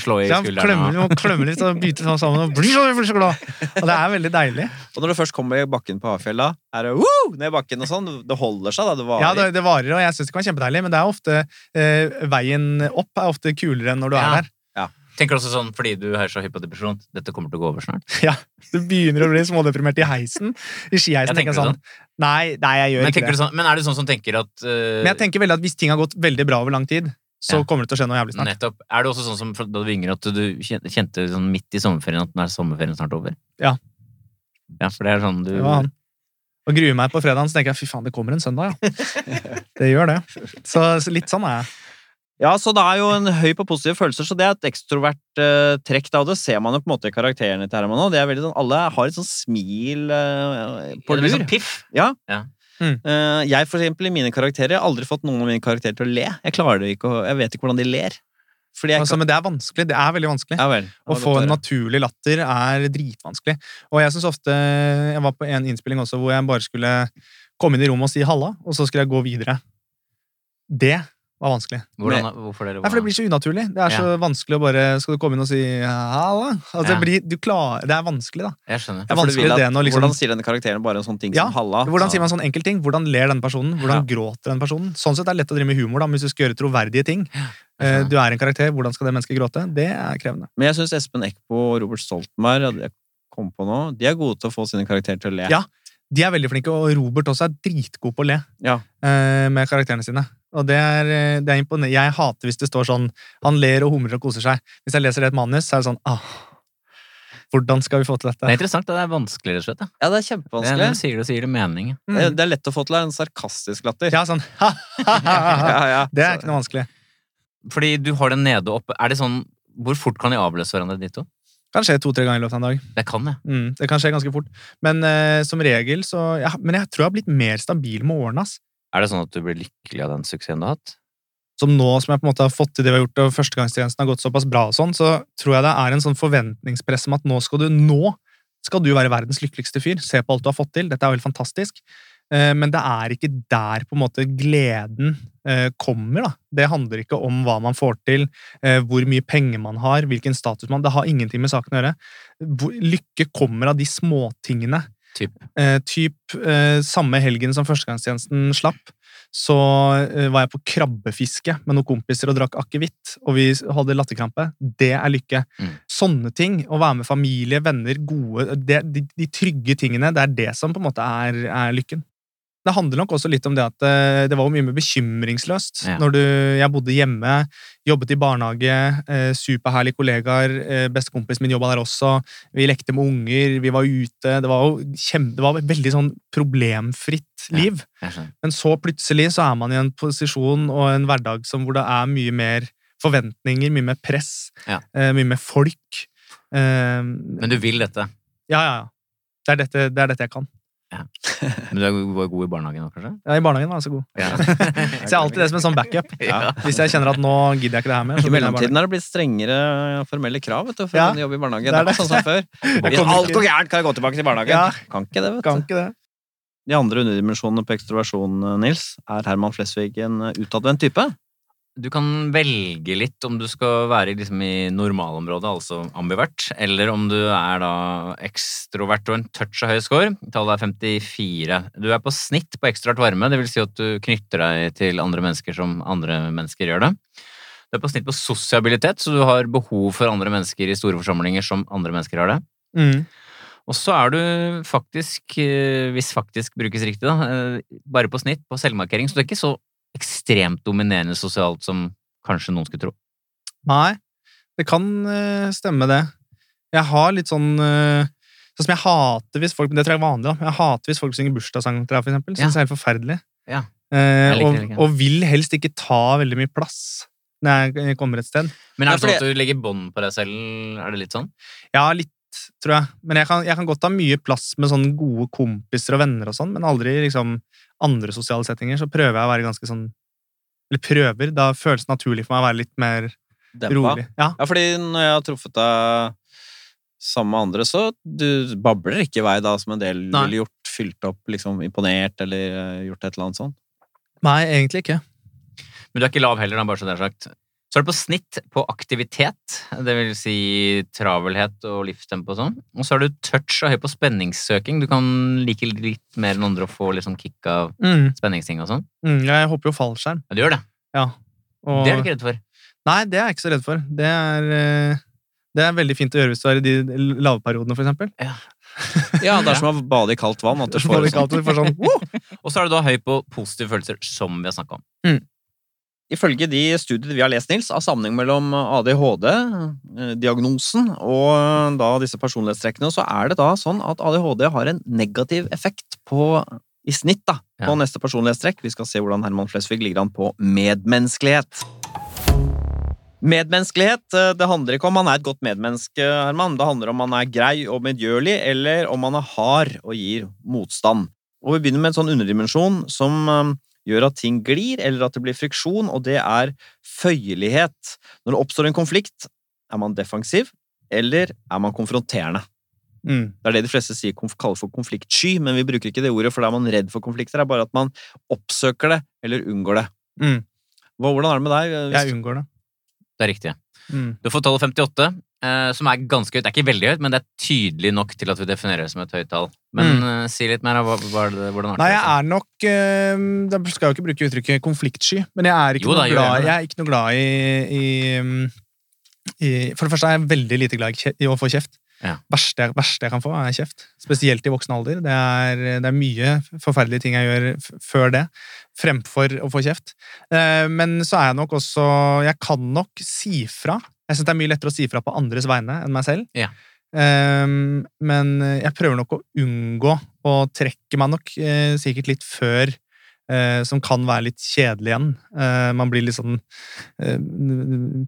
Speaker 3: Slå i
Speaker 4: Så jeg klemmer,
Speaker 3: skuldrene. og-
Speaker 4: må klemme litt og bite sånn sammen og blir så, jeg blir så glad. Og det er veldig deilig.
Speaker 2: Og når du først kommer i bakken på Hafjell, da, er det woo, ned i bakken og sånn. Det holder seg, da. Det varer.
Speaker 4: Ja, det, det varer, og jeg syns det kan være kjempedeilig, men det er ofte eh, veien opp er ofte kulere enn når du
Speaker 3: Ja.
Speaker 4: er der.
Speaker 3: Tenker du også sånn fordi du er så hypp på depresjon? Dette kommer til å gå over snart.
Speaker 4: Du begynner å bli smådeprimert i heisen. I
Speaker 3: Ja,
Speaker 4: skiheisen
Speaker 3: tenker
Speaker 4: tenker jeg sånn Nei, nei, jeg gjør
Speaker 3: Men,
Speaker 4: ikke
Speaker 3: tenker
Speaker 4: det.
Speaker 3: du sånn, men er du sånn som tenker at eh,
Speaker 4: Men jeg tenker veldig at hvis ting har gått veldig bra over lang tid, så
Speaker 3: Ja.
Speaker 4: kommer det til å skje noe jævlig snart.
Speaker 3: Nettopp. Er det også sånn som fra- da du var yngre at du kjen- kjente sånn midt i sommerferien at nå er sommerferien snart over?
Speaker 4: Ja.
Speaker 3: Ja, for det er sånn du
Speaker 4: Det var han. Og gruer meg på fredagen, så tenker jeg fy faen, det kommer en søndag, ja. det gjør det. Så, så litt sånn er jeg.
Speaker 2: Ja, så det er jo en høy på positive følelser, så det er et ekstrovert eh, trekk. da, og Det ser man jo på en måte i karakterene til Herman òg. Sånn, alle har et sånt smil eh, på
Speaker 3: det blir
Speaker 2: lur.
Speaker 3: sånn piff.
Speaker 2: Eh, jeg for eksempel, i mine karakterer, jeg har aldri fått noen av mine karakterer til å le. Jeg klarer det ikke, å- jeg vet ikke hvordan de ler. Fordi jeg
Speaker 4: Altså,
Speaker 2: kan...
Speaker 4: men det er vanskelig. Det er veldig vanskelig.
Speaker 2: Ja vel.
Speaker 4: Å få en naturlig latter er dritvanskelig. Og jeg syns ofte Jeg var på en innspilling også hvor jeg bare skulle komme inn i rommet og si halla, og så skulle jeg gå videre. Det var vanskelig.
Speaker 3: Hvordan, hvorfor det?
Speaker 4: Nei, for det blir så unaturlig. Det er så vanskelig å bare Skal du komme inn og si halla? Altså, det,
Speaker 3: Ja.
Speaker 4: blir, du klarer, det er vanskelig, da.
Speaker 3: Jeg skjønner.
Speaker 4: Det er vanskelig det nå, liksom.
Speaker 2: Hvordan sier denne karakteren bare en sånn ting
Speaker 4: Ja,
Speaker 2: som halla?
Speaker 4: Hvordan sier man sånn enkel ting? Hvordan ler den personen? Hvordan gråter den personen? Sånn sett er det lett å drive med humor, da, men hvis du skal gjøre troverdige ting. Eh, Du er en karakter, hvordan skal det mennesket gråte? Det er krevende.
Speaker 2: Men jeg syns Espen Eckbo og Robert Stoltenberg ja, det kom på nå, de er gode til å få sine karakterer til å le.
Speaker 4: Ja. De er veldig flinke, og Robert også er dritgod på å le.
Speaker 2: Ja.
Speaker 4: eh, med karakterene sine. Og det er, eh, det er imponerende. Jeg hater hvis det står sånn Han ler og humrer og koser seg. Hvis jeg leser det i et manus, så er det sånn ah, Hvordan skal vi få til
Speaker 3: Det er
Speaker 4: dette?
Speaker 3: interessant. Det er vanskelig, rett og slett. da.
Speaker 2: Ja, det er
Speaker 3: Det er, når du
Speaker 2: kjempevanskelig.
Speaker 3: sier det, så gir det mening.
Speaker 2: Det
Speaker 4: Mm.
Speaker 2: det er lett å få til en sarkastisk latter.
Speaker 4: Ja, sånn ha, ha, ha, ha.
Speaker 2: Ja, ja.
Speaker 4: Det er
Speaker 2: Så-
Speaker 4: ikke noe vanskelig.
Speaker 3: Fordi du har den nede og oppe. Er det sånn Hvor fort kan de avløse hverandre, de to?
Speaker 4: Kan skje to-tre ganger i løpet av en dag.
Speaker 3: Det kan jeg.
Speaker 4: Mm, det kan skje ganske fort. Men eh, som regel så ja, Men jeg tror jeg har blitt mer stabil med årene. ass.
Speaker 3: Er det sånn at du blir lykkelig av den suksessen du har hatt?
Speaker 4: Som nå som jeg på en måte har fått til det vi har gjort, og førstegangstjenesten har gått såpass bra, og sånn, så tror jeg det er en sånn forventningspress om at nå skal du nå skal du være verdens lykkeligste fyr. Se på alt du har fått til. Dette er jo helt fantastisk. Eh, Men det er ikke der på en måte gleden eh, kommer. da. Det handler ikke om hva man får til, eh, hvor mye penger man har, hvilken status man Det har ingenting med saken å gjøre. Hvor- Lykke kommer av de småtingene.
Speaker 3: Typ.
Speaker 4: Eh, typ eh, samme helgen som førstegangstjenesten slapp, så eh, var jeg på krabbefiske med noen kompiser og drakk akevitt, og vi hadde latterkrampe. Det er lykke.
Speaker 3: Mm.
Speaker 4: Sånne ting, å være med familie, venner, gode det, de, de trygge tingene, det er det som på en måte er, er lykken. Det handler nok også litt om det at eh, det var jo mye mer bekymringsløst.
Speaker 3: Ja.
Speaker 4: Når du, jeg bodde hjemme, jobbet i barnehage, eh, superherlige kollegaer, eh, bestekompisen min jobba der også, vi lekte med unger, vi var ute Det var jo kjempe, det var et veldig sånn problemfritt
Speaker 3: Ja.
Speaker 4: liv.
Speaker 3: Jeg skjønner.
Speaker 4: Men så plutselig så er man i en posisjon og en hverdag som, hvor det er mye mer forventninger, mye mer press,
Speaker 3: Ja.
Speaker 4: eh, mye mer folk. Eh,
Speaker 3: Men du vil dette.
Speaker 4: ja, ja, ja. Det er, dette, det er dette jeg kan.
Speaker 3: Men du er go- var god i barnehagen nå, kanskje?
Speaker 4: Ja, I barnhagen var jeg så god. Så jeg har alltid det som en sånn backup.
Speaker 3: Ja.
Speaker 4: Hvis jeg kjenner at nå gidder jeg ikke det her mer. så
Speaker 2: I
Speaker 4: begynner jeg
Speaker 2: mellomtiden er det blitt strengere formelle krav vet du, for
Speaker 4: Ja,
Speaker 2: å kunne jobbe i barnehage.
Speaker 4: det
Speaker 2: Det
Speaker 4: er
Speaker 2: er ikke
Speaker 4: det.
Speaker 2: sånn som før.
Speaker 4: Jeg
Speaker 2: Hvis
Speaker 4: kommer
Speaker 2: alt
Speaker 4: ikke-
Speaker 2: går gærent, kan jeg gå tilbake til barnehagen.
Speaker 4: Ja.
Speaker 2: Kan ikke det, vet du.
Speaker 4: Kan ikke det.
Speaker 2: De andre underdimensjonene på ekstroversjon, Nils, er Herman Flesvig en eh, utadvendt type?
Speaker 3: du kan velge litt om du skal være liksom i normalområdet, altså ambivert, eller om du er da ekstrovert og en touch av høy score. Tallet er 54. Du er på snitt på ekstrovert varme, det vil si at du knytter deg til andre mennesker som andre mennesker gjør det. Du er på snitt på sosiabilitet, så du har behov for andre mennesker i store forsamlinger som andre mennesker har det.
Speaker 4: Mm.
Speaker 3: Og så er du faktisk, eh, hvis faktisk brukes riktig, da, eh, bare på snitt på selvmarkering. Så du er ikke så ekstremt dominerende sosialt som kanskje noen skulle tro.
Speaker 4: Nei, det kan eh, stemme det. Jeg har litt sånn eh, Sånn som jeg hater hvis folk Men det tror jeg er vanlig, da. men Jeg hater hvis folk synger bursdagssang til deg, for eksempel. Synes
Speaker 3: Ja.
Speaker 4: det er helt forferdelig.
Speaker 3: Ja.
Speaker 4: Eh,
Speaker 3: Jeg liker
Speaker 4: og,
Speaker 3: det ikke.
Speaker 4: og vil helst ikke ta veldig mye plass når jeg kommer et sted.
Speaker 3: Men er
Speaker 2: Ja,
Speaker 3: det sånn
Speaker 2: fordi-
Speaker 3: at du legger bånd på deg selv? Er det litt sånn?
Speaker 4: Ja, litt, tror jeg. Men jeg kan, jeg kan godt ha mye plass med sånne gode kompiser og venner og sånn, men aldri liksom andre sosiale settinger. Så prøver jeg å være ganske sånn Eller prøver. Da føles det naturlig for meg å være litt mer
Speaker 2: Dempa.
Speaker 4: rolig. Ja.
Speaker 2: Ja, fordi når jeg har truffet deg sammen med andre, så du babler ikke i vei da, som en del
Speaker 4: Nei.
Speaker 2: ville gjort. Fylt opp, liksom imponert, eller eh, gjort et eller annet sånt.
Speaker 4: Nei, egentlig ikke.
Speaker 3: Men du er ikke lav heller, da, bare så det er sagt. Så er du på snitt på aktivitet, det vil si travelhet og livstempo og sånn. Og så er du touch og høy på spenningssøking. Du kan like litt mer enn andre og få litt sånn kick av
Speaker 4: Mm.
Speaker 3: spenningsting og sånn.
Speaker 4: Mm, jeg hopper jo fallskjerm.
Speaker 3: Ja, du gjør det.
Speaker 4: Ja. Og,
Speaker 3: Det er du ikke redd for.
Speaker 4: Nei, det er jeg ikke så redd for. Det er, eh, det er veldig fint å gjøre hvis du er i de lavperiodene, for eksempel.
Speaker 2: Ja, det er som å bade i kaldt vann. At du
Speaker 4: Får
Speaker 2: får
Speaker 4: det
Speaker 2: sånn.
Speaker 4: kaldt, du får sånn, «Wow!»
Speaker 3: Og så er du da høy på positive følelser, som vi har snakka om.
Speaker 2: Ifølge de studier vi har lest, Nils, av sammenheng mellom ADHD, eh, diagnosen, og eh, da disse personlighetstrekkene, så er det da sånn at ADHD har en negativ effekt på i snitt da, på
Speaker 3: Ja.
Speaker 2: neste personlighetstrekk. Vi skal se hvordan Herman Flesvig ligger an på medmenneskelighet. Medmenneskelighet eh, det handler ikke om man er et godt medmenneske, Herman. Det handler om man er grei og medgjørlig, eller om man er hard og gir motstand. Og Vi begynner med en sånn underdimensjon som eh, gjør at ting glir, eller at det blir friksjon, og det er føyelighet. Når det oppstår en konflikt, er man defensiv, eller er man konfronterende?
Speaker 4: Mm.
Speaker 2: Det er det de fleste sier, konf- kaller for konfliktsky, men vi bruker ikke det ordet, for da er man redd for konflikter. Det er bare at man oppsøker det, eller unngår det.
Speaker 4: Mm.
Speaker 2: Hva- Hvordan er det med deg? eh, hvis
Speaker 4: Jeg unngår det.
Speaker 3: Det er riktig.
Speaker 4: Mm.
Speaker 3: Du får tallet 58, eh, som er ganske høyt. Det er ikke veldig høyt, men det er tydelig nok til at vi definerer det som et høyt tall. Men eh, si litt mer, da. hva, hva er det, liksom? hvordan har du
Speaker 4: Mm. Nei, jeg
Speaker 3: det?
Speaker 4: er nok eh, Da skal jeg jo ikke bruke uttrykket konfliktsky, men jeg er ikke,
Speaker 3: Jo da,
Speaker 4: noe,
Speaker 3: gjør
Speaker 4: glad,
Speaker 3: gjerne det.
Speaker 4: jeg er ikke noe glad i, i, mm, i For det første er jeg veldig lite glad i, kje- i å få kjeft.
Speaker 3: Ja.
Speaker 4: Verste, jeg- verste jeg kan få, er kjeft. Spesielt i voksen alder. Det er, det er mye forferdelige ting jeg gjør f før det, fremfor å få kjeft. Eh, men så er jeg nok også Jeg kan nok si fra. Jeg syns det er mye lettere å si fra på andres vegne enn meg selv.
Speaker 3: Ja.
Speaker 4: Eh, men jeg prøver nok å unngå å trekke meg nok eh, sikkert litt før, eh, som kan være litt kjedelig igjen. Eh, man blir litt sånn eh,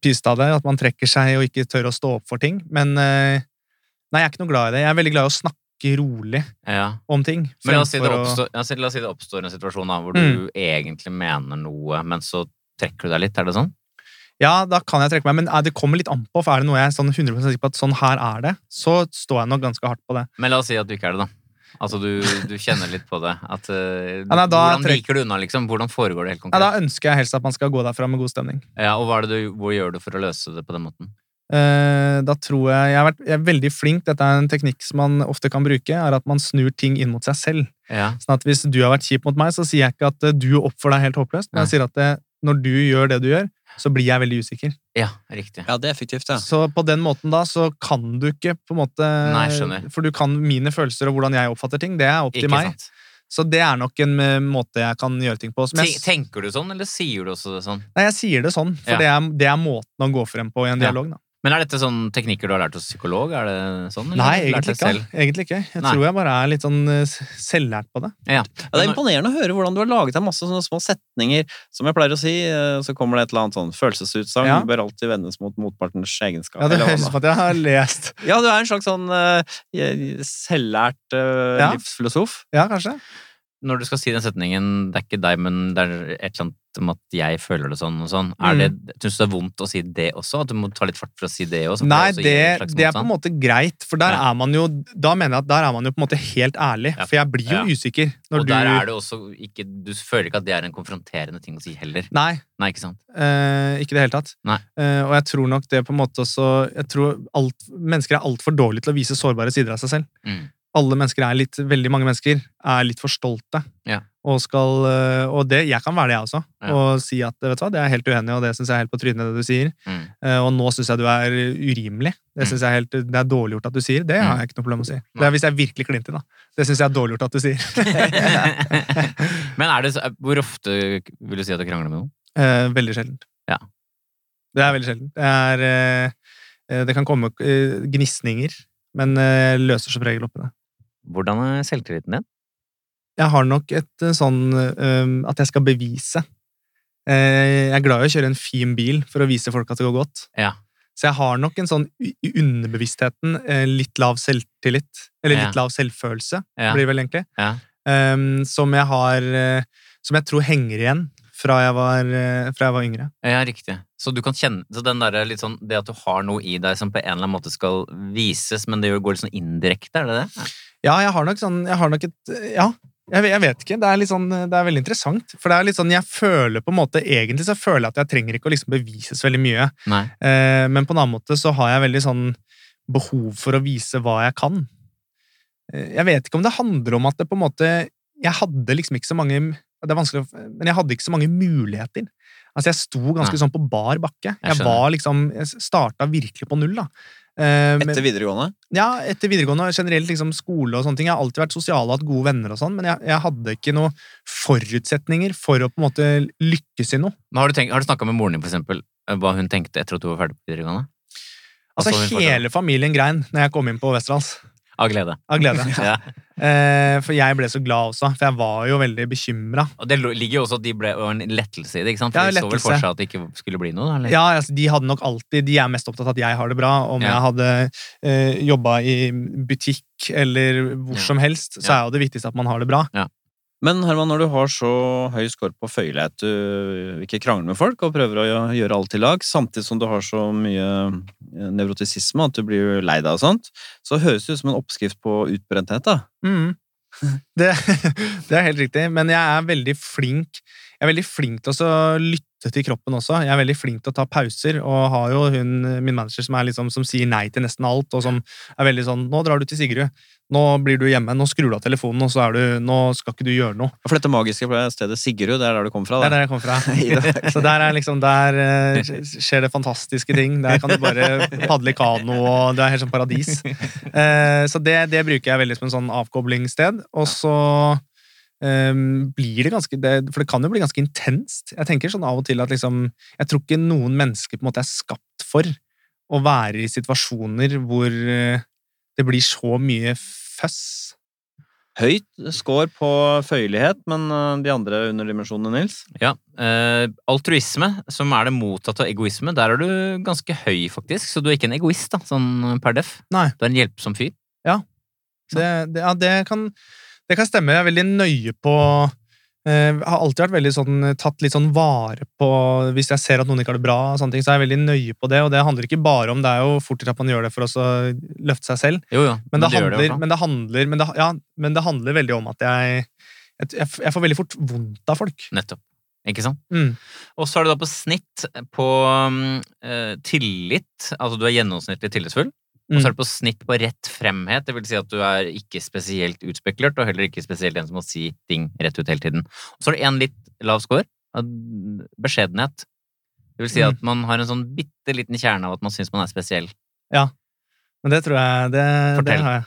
Speaker 4: pyst av det, at man trekker seg og ikke tør å stå opp for ting. Men eh, nei, jeg er ikke noe glad i det. Jeg er veldig glad i å snakke rolig
Speaker 3: Ja.
Speaker 4: om ting.
Speaker 3: Men la oss, si det
Speaker 4: fremfor å-
Speaker 3: oppstår, ja, si- la oss si det oppstår en situasjon da, hvor du
Speaker 4: Mm.
Speaker 3: egentlig mener noe, men så trekker du deg litt. Er det sånn?
Speaker 4: Ja, da kan jeg trekke meg, men eh, det kommer litt an på. For er det noe jeg er sånn 100 sikker på at sånn her er det, så står jeg nok ganske hardt på det.
Speaker 3: Men la oss si at du ikke er det, da. Altså, du, du kjenner litt på det. At, eh,
Speaker 4: Ja, nei, da
Speaker 3: hvordan
Speaker 4: trek-
Speaker 3: viker du unna, liksom? Hvordan foregår det helt
Speaker 4: Ja, da
Speaker 3: konkret? Ja,
Speaker 4: ønsker jeg helst at man skal gå derfra med god stemning.
Speaker 3: og hva er det du, hvor gjør du for å løse det på den måten?
Speaker 4: Eh, Da tror jeg jeg, har vært, jeg er veldig flink. Dette er en teknikk som man ofte kan bruke, er at man snur ting inn mot seg selv.
Speaker 3: Ja.
Speaker 4: Sånn at Hvis du har vært kjip mot meg, så sier jeg ikke at eh, du oppfører deg helt håpløst, men jeg sier at eh, når du gjør det du gjør, så blir jeg veldig usikker.
Speaker 3: ja, riktig.
Speaker 2: Ja, det er effektivt, ja.
Speaker 4: Så på den måten da, så kan du ikke på en måte
Speaker 3: Nei, skjønner.
Speaker 4: For du kan mine følelser og hvordan jeg oppfatter ting, det er opp til meg.
Speaker 3: sant.
Speaker 4: Så det er nok en eh, måte jeg kan gjøre ting på. Som jeg,
Speaker 3: Ten- Tenker du sånn, eller sier du også det sånn?
Speaker 4: nei, jeg sier det sånn, for
Speaker 3: Ja.
Speaker 4: det, er, det er måten å gå frem på i en
Speaker 3: Ja.
Speaker 4: dialog. da.
Speaker 3: Men er dette sånn teknikker du har lært hos psykolog? Er det sånn? eller
Speaker 4: Nei,
Speaker 3: har du lært det
Speaker 4: egentlig ikke.
Speaker 3: selv?
Speaker 4: Egentlig ikke. Jeg
Speaker 3: Nei.
Speaker 4: tror jeg bare er litt sånn eh, s- selvlært på det.
Speaker 2: Ja, det er
Speaker 3: Men-
Speaker 2: imponerende å høre hvordan du har laget deg masse sånne små setninger. Som jeg pleier å si, eh, så kommer det et eller annet sånn følelsesutsagn
Speaker 4: Ja.
Speaker 2: bør alltid vendes mot motpartens egenskap.
Speaker 4: Ja, Det
Speaker 2: eller hva
Speaker 4: høres ut
Speaker 2: da?
Speaker 4: som at jeg har lest.
Speaker 2: ja, du er en slags sånn eh, selvlært eh,
Speaker 4: Ja.
Speaker 2: livsfilosof.
Speaker 4: Ja, kanskje.
Speaker 3: når du skal si den setningen 'det er ikke deg, men det er et eller annet om at jeg føler det sånn' og sånn, er
Speaker 4: Mm.
Speaker 3: det, syns du det er vondt å si det også? At du må ta litt fart for å si det også?
Speaker 4: Nei, det, det er på en måte greit, for der
Speaker 3: Ja.
Speaker 4: er man jo Da mener jeg at der er man jo på en måte helt ærlig,
Speaker 3: Ja.
Speaker 4: for jeg blir jo
Speaker 3: Ja.
Speaker 4: usikker når
Speaker 3: Og
Speaker 4: du
Speaker 3: der er det også ikke Du føler ikke at det er en konfronterende ting å si heller.
Speaker 4: Nei,
Speaker 3: Nei, ikke sant?
Speaker 4: eh, ikke i det hele tatt.
Speaker 3: Nei.
Speaker 4: Eh, og jeg tror nok det på en måte også Jeg tror alt, mennesker er altfor dårlige til å vise sårbare sider av seg selv.
Speaker 3: Mm.
Speaker 4: alle mennesker er litt, veldig mange mennesker er litt for stolte.
Speaker 3: Ja.
Speaker 4: Og, skal, øh, og det, jeg kan være det, jeg også.
Speaker 3: Ja.
Speaker 4: Og si at vet du hva, det er jeg helt uenig i, og det syns jeg er helt på trynet, det du sier.
Speaker 3: Mm.
Speaker 4: Eh, Og nå syns jeg du er urimelig. Det synes jeg er helt, det er dårlig gjort at du sier. Det
Speaker 3: Mm.
Speaker 4: har jeg ikke noe problem med å si. Det er hvis jeg virkelig klinte, da. Det syns jeg er dårlig gjort at du sier.
Speaker 3: men er det så, hvor ofte vil du si at du krangler med noen?
Speaker 4: Eh, veldig sjeldent.
Speaker 3: Ja.
Speaker 4: Det er veldig sjeldent. Det, er, eh, eh, det kan komme eh, gnisninger, men eh, jeg løser som regel opp i det.
Speaker 3: Hvordan er selvtilliten din?
Speaker 4: Jeg har nok et eh, sånn øhm, at jeg skal bevise. Eh, Jeg er glad i å kjøre en fin bil for å vise folk at det går godt.
Speaker 3: Ja.
Speaker 4: Så jeg har nok en sånn u- i underbevisstheten eh, litt lav selvtillit. Eller litt lav selvfølelse,
Speaker 3: Ja.
Speaker 4: blir det vel egentlig.
Speaker 3: Ja.
Speaker 4: Ehm, som jeg har eh, Som jeg tror henger igjen fra jeg var, eh, fra jeg var yngre.
Speaker 3: Ja, riktig. Så du kan kjenne så den der, litt sånn, det at du har noe i deg som på en eller annen måte skal vises, men det gjør- går litt sånn indirekte, er det det?
Speaker 4: Ja, jeg har nok sånn Jeg har nok et Ja. Jeg, ve- jeg vet ikke. Det er, litt sånn, det er veldig interessant. For det er litt sånn, jeg føler på en måte, Egentlig så føler jeg at jeg trenger ikke å liksom bevise så veldig mye.
Speaker 3: Nei.
Speaker 4: Eh, men på en annen måte så har jeg veldig sånn behov for å vise hva jeg kan. Eh, Jeg vet ikke om det handler om at det på en måte Jeg hadde liksom ikke så mange Det er vanskelig å Men jeg hadde ikke så mange muligheter. Altså, jeg sto ganske
Speaker 3: Nei.
Speaker 4: sånn på bar bakke. Jeg,
Speaker 3: skjønner.
Speaker 4: var liksom Jeg starta virkelig på null, da. Eh, men-
Speaker 2: Etter videregående?
Speaker 4: ja, etter videregående og generelt liksom skole og sånne ting. Jeg har alltid vært sosial og hatt gode venner og sånn, men jeg, jeg hadde ikke noen forutsetninger for å på en måte lykkes i noe.
Speaker 3: Men har du, tenkt, har du snakka med moren din, for eksempel, hva hun tenkte etter at du var ferdig på videregående? Hva
Speaker 4: Altså,
Speaker 3: så hun for seg?
Speaker 4: hele familien grein når jeg kom inn på Westerdals.
Speaker 3: Av glede.
Speaker 4: Av glede.
Speaker 3: Ja.
Speaker 4: Eh, for jeg ble så glad også, for jeg var jo veldig bekymra.
Speaker 3: Og det lo- ligger jo også at de ble og en lettelse i det, ikke sant? For
Speaker 4: Ja,
Speaker 3: de så vel for
Speaker 4: lettelse.
Speaker 3: seg at det ikke skulle bli noe, da? Eller?
Speaker 4: Ja, altså, de hadde nok alltid De er mest opptatt av at jeg har det bra. Om
Speaker 3: Mm. Ja.
Speaker 4: jeg hadde eh, jobba i butikk eller hvor
Speaker 3: Ja.
Speaker 4: som helst, så
Speaker 3: Ja.
Speaker 4: er jo det viktigste at man har det bra.
Speaker 2: Men Herman, når du har så høy score på føyelighet, du ikke krangler med folk og prøver å gjø- gjøre alt i lag, samtidig som du har så mye eh, nevrotisisme at du blir lei deg og sånt, så høres det ut som en oppskrift på utbrenthet, da.
Speaker 4: Mm. Det, det er helt riktig, men jeg er veldig flink Jeg er veldig flink til å så lytte til kroppen også. Jeg er veldig flink til å ta pauser, og har jo hun, min manager som, er liksom, som sier nei til nesten alt, og som er veldig sånn 'Nå drar du til Sigrud. Nå blir du hjemme. Nå skrur du av telefonen, og så er du Nå skal ikke du gjøre noe.'
Speaker 2: For dette magiske stedet Sigrud, det er der du kom fra,
Speaker 4: Det er
Speaker 2: da.
Speaker 4: der jeg kommer fra.
Speaker 2: I dag.
Speaker 4: Så der er liksom, der eh, skjer det fantastiske ting. Der kan du bare padle i kano, og det er helt sånn paradis. Eh, Så det, det bruker jeg veldig som en sånn avkoblingssted. Og så eh, blir det ganske det, For det kan jo bli ganske intenst. Jeg tenker sånn av og til at liksom Jeg tror ikke noen mennesker på en måte er skapt for å være i situasjoner hvor eh, det blir så mye føss.
Speaker 2: Høyt score på føyelighet, men eh, de andre underdimensjonene, Nils?
Speaker 3: Ja. eh, altruisme, som er det mottatte av egoisme, der er du ganske høy, faktisk. Så du er ikke en egoist, da, sånn per def.
Speaker 4: Nei.
Speaker 3: Du er en hjelpsom fyr.
Speaker 4: Det, det, ja, det kan, det kan stemme. Jeg er veldig nøye på eh, Har alltid vært veldig sånn, tatt litt sånn vare på Hvis jeg ser at noen ikke har det bra, og sånne ting, så er jeg veldig nøye på det. Og det handler ikke bare om Det er jo fort gjort at man gjør det for å så løfte seg selv.
Speaker 3: Jo, jo.
Speaker 4: Men det,
Speaker 3: du gjør i hvert
Speaker 4: handler,
Speaker 3: fall.
Speaker 4: men det handler men det, Ja, men det handler veldig om at jeg jeg, jeg f- jeg får veldig fort vondt av folk.
Speaker 3: Nettopp. Ikke sant?
Speaker 4: Mm.
Speaker 3: Og så er det da på snitt på um, eh, tillit, altså du er gjennomsnittlig tillitsfull. Og
Speaker 4: Mm.
Speaker 3: så er det på snitt på rett fremhet, det vil si at du er ikke spesielt utspekulert, og heller ikke spesielt en som må si ting rett ut hele tiden. Og så er det en litt lav score, av beskjedenhet. Det vil si
Speaker 4: Mm.
Speaker 3: at man har en sånn bitte liten kjerne av at man syns man er spesiell.
Speaker 4: Men det tror jeg det, det
Speaker 3: Fortell.
Speaker 4: har jeg.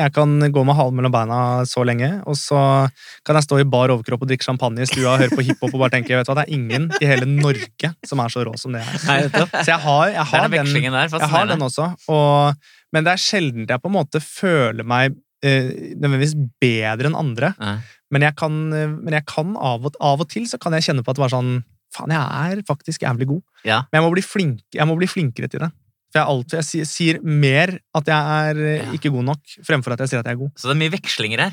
Speaker 4: Jeg kan gå med halen mellom beina så lenge, og så kan jeg stå i bar overkropp og drikke champagne i stua og høre på hiphop og bare tenke vet du hva, det er ingen i hele Norge som er så rå som det er. Så jeg har, jeg
Speaker 3: Det er
Speaker 4: har
Speaker 3: den
Speaker 4: den
Speaker 3: vekslingen altså, der,
Speaker 4: Jeg har den
Speaker 3: fascinerende.
Speaker 4: også, og, men det er sjelden jeg på en måte føler meg eh, nødvendigvis bedre enn andre.
Speaker 3: Ja.
Speaker 4: Men jeg kan, eh, men jeg kan av, og, av og til så kan jeg kjenne på at det var sånn Faen, jeg er faktisk jævlig god.
Speaker 3: Ja.
Speaker 4: Men jeg må bli, flink, jeg må bli flinkere til det. For jeg, er alt, jeg sier, sier mer at jeg er eh,
Speaker 3: Ja.
Speaker 4: ikke god nok, fremfor at jeg sier at jeg er god.
Speaker 3: Så det er mye vekslinger her.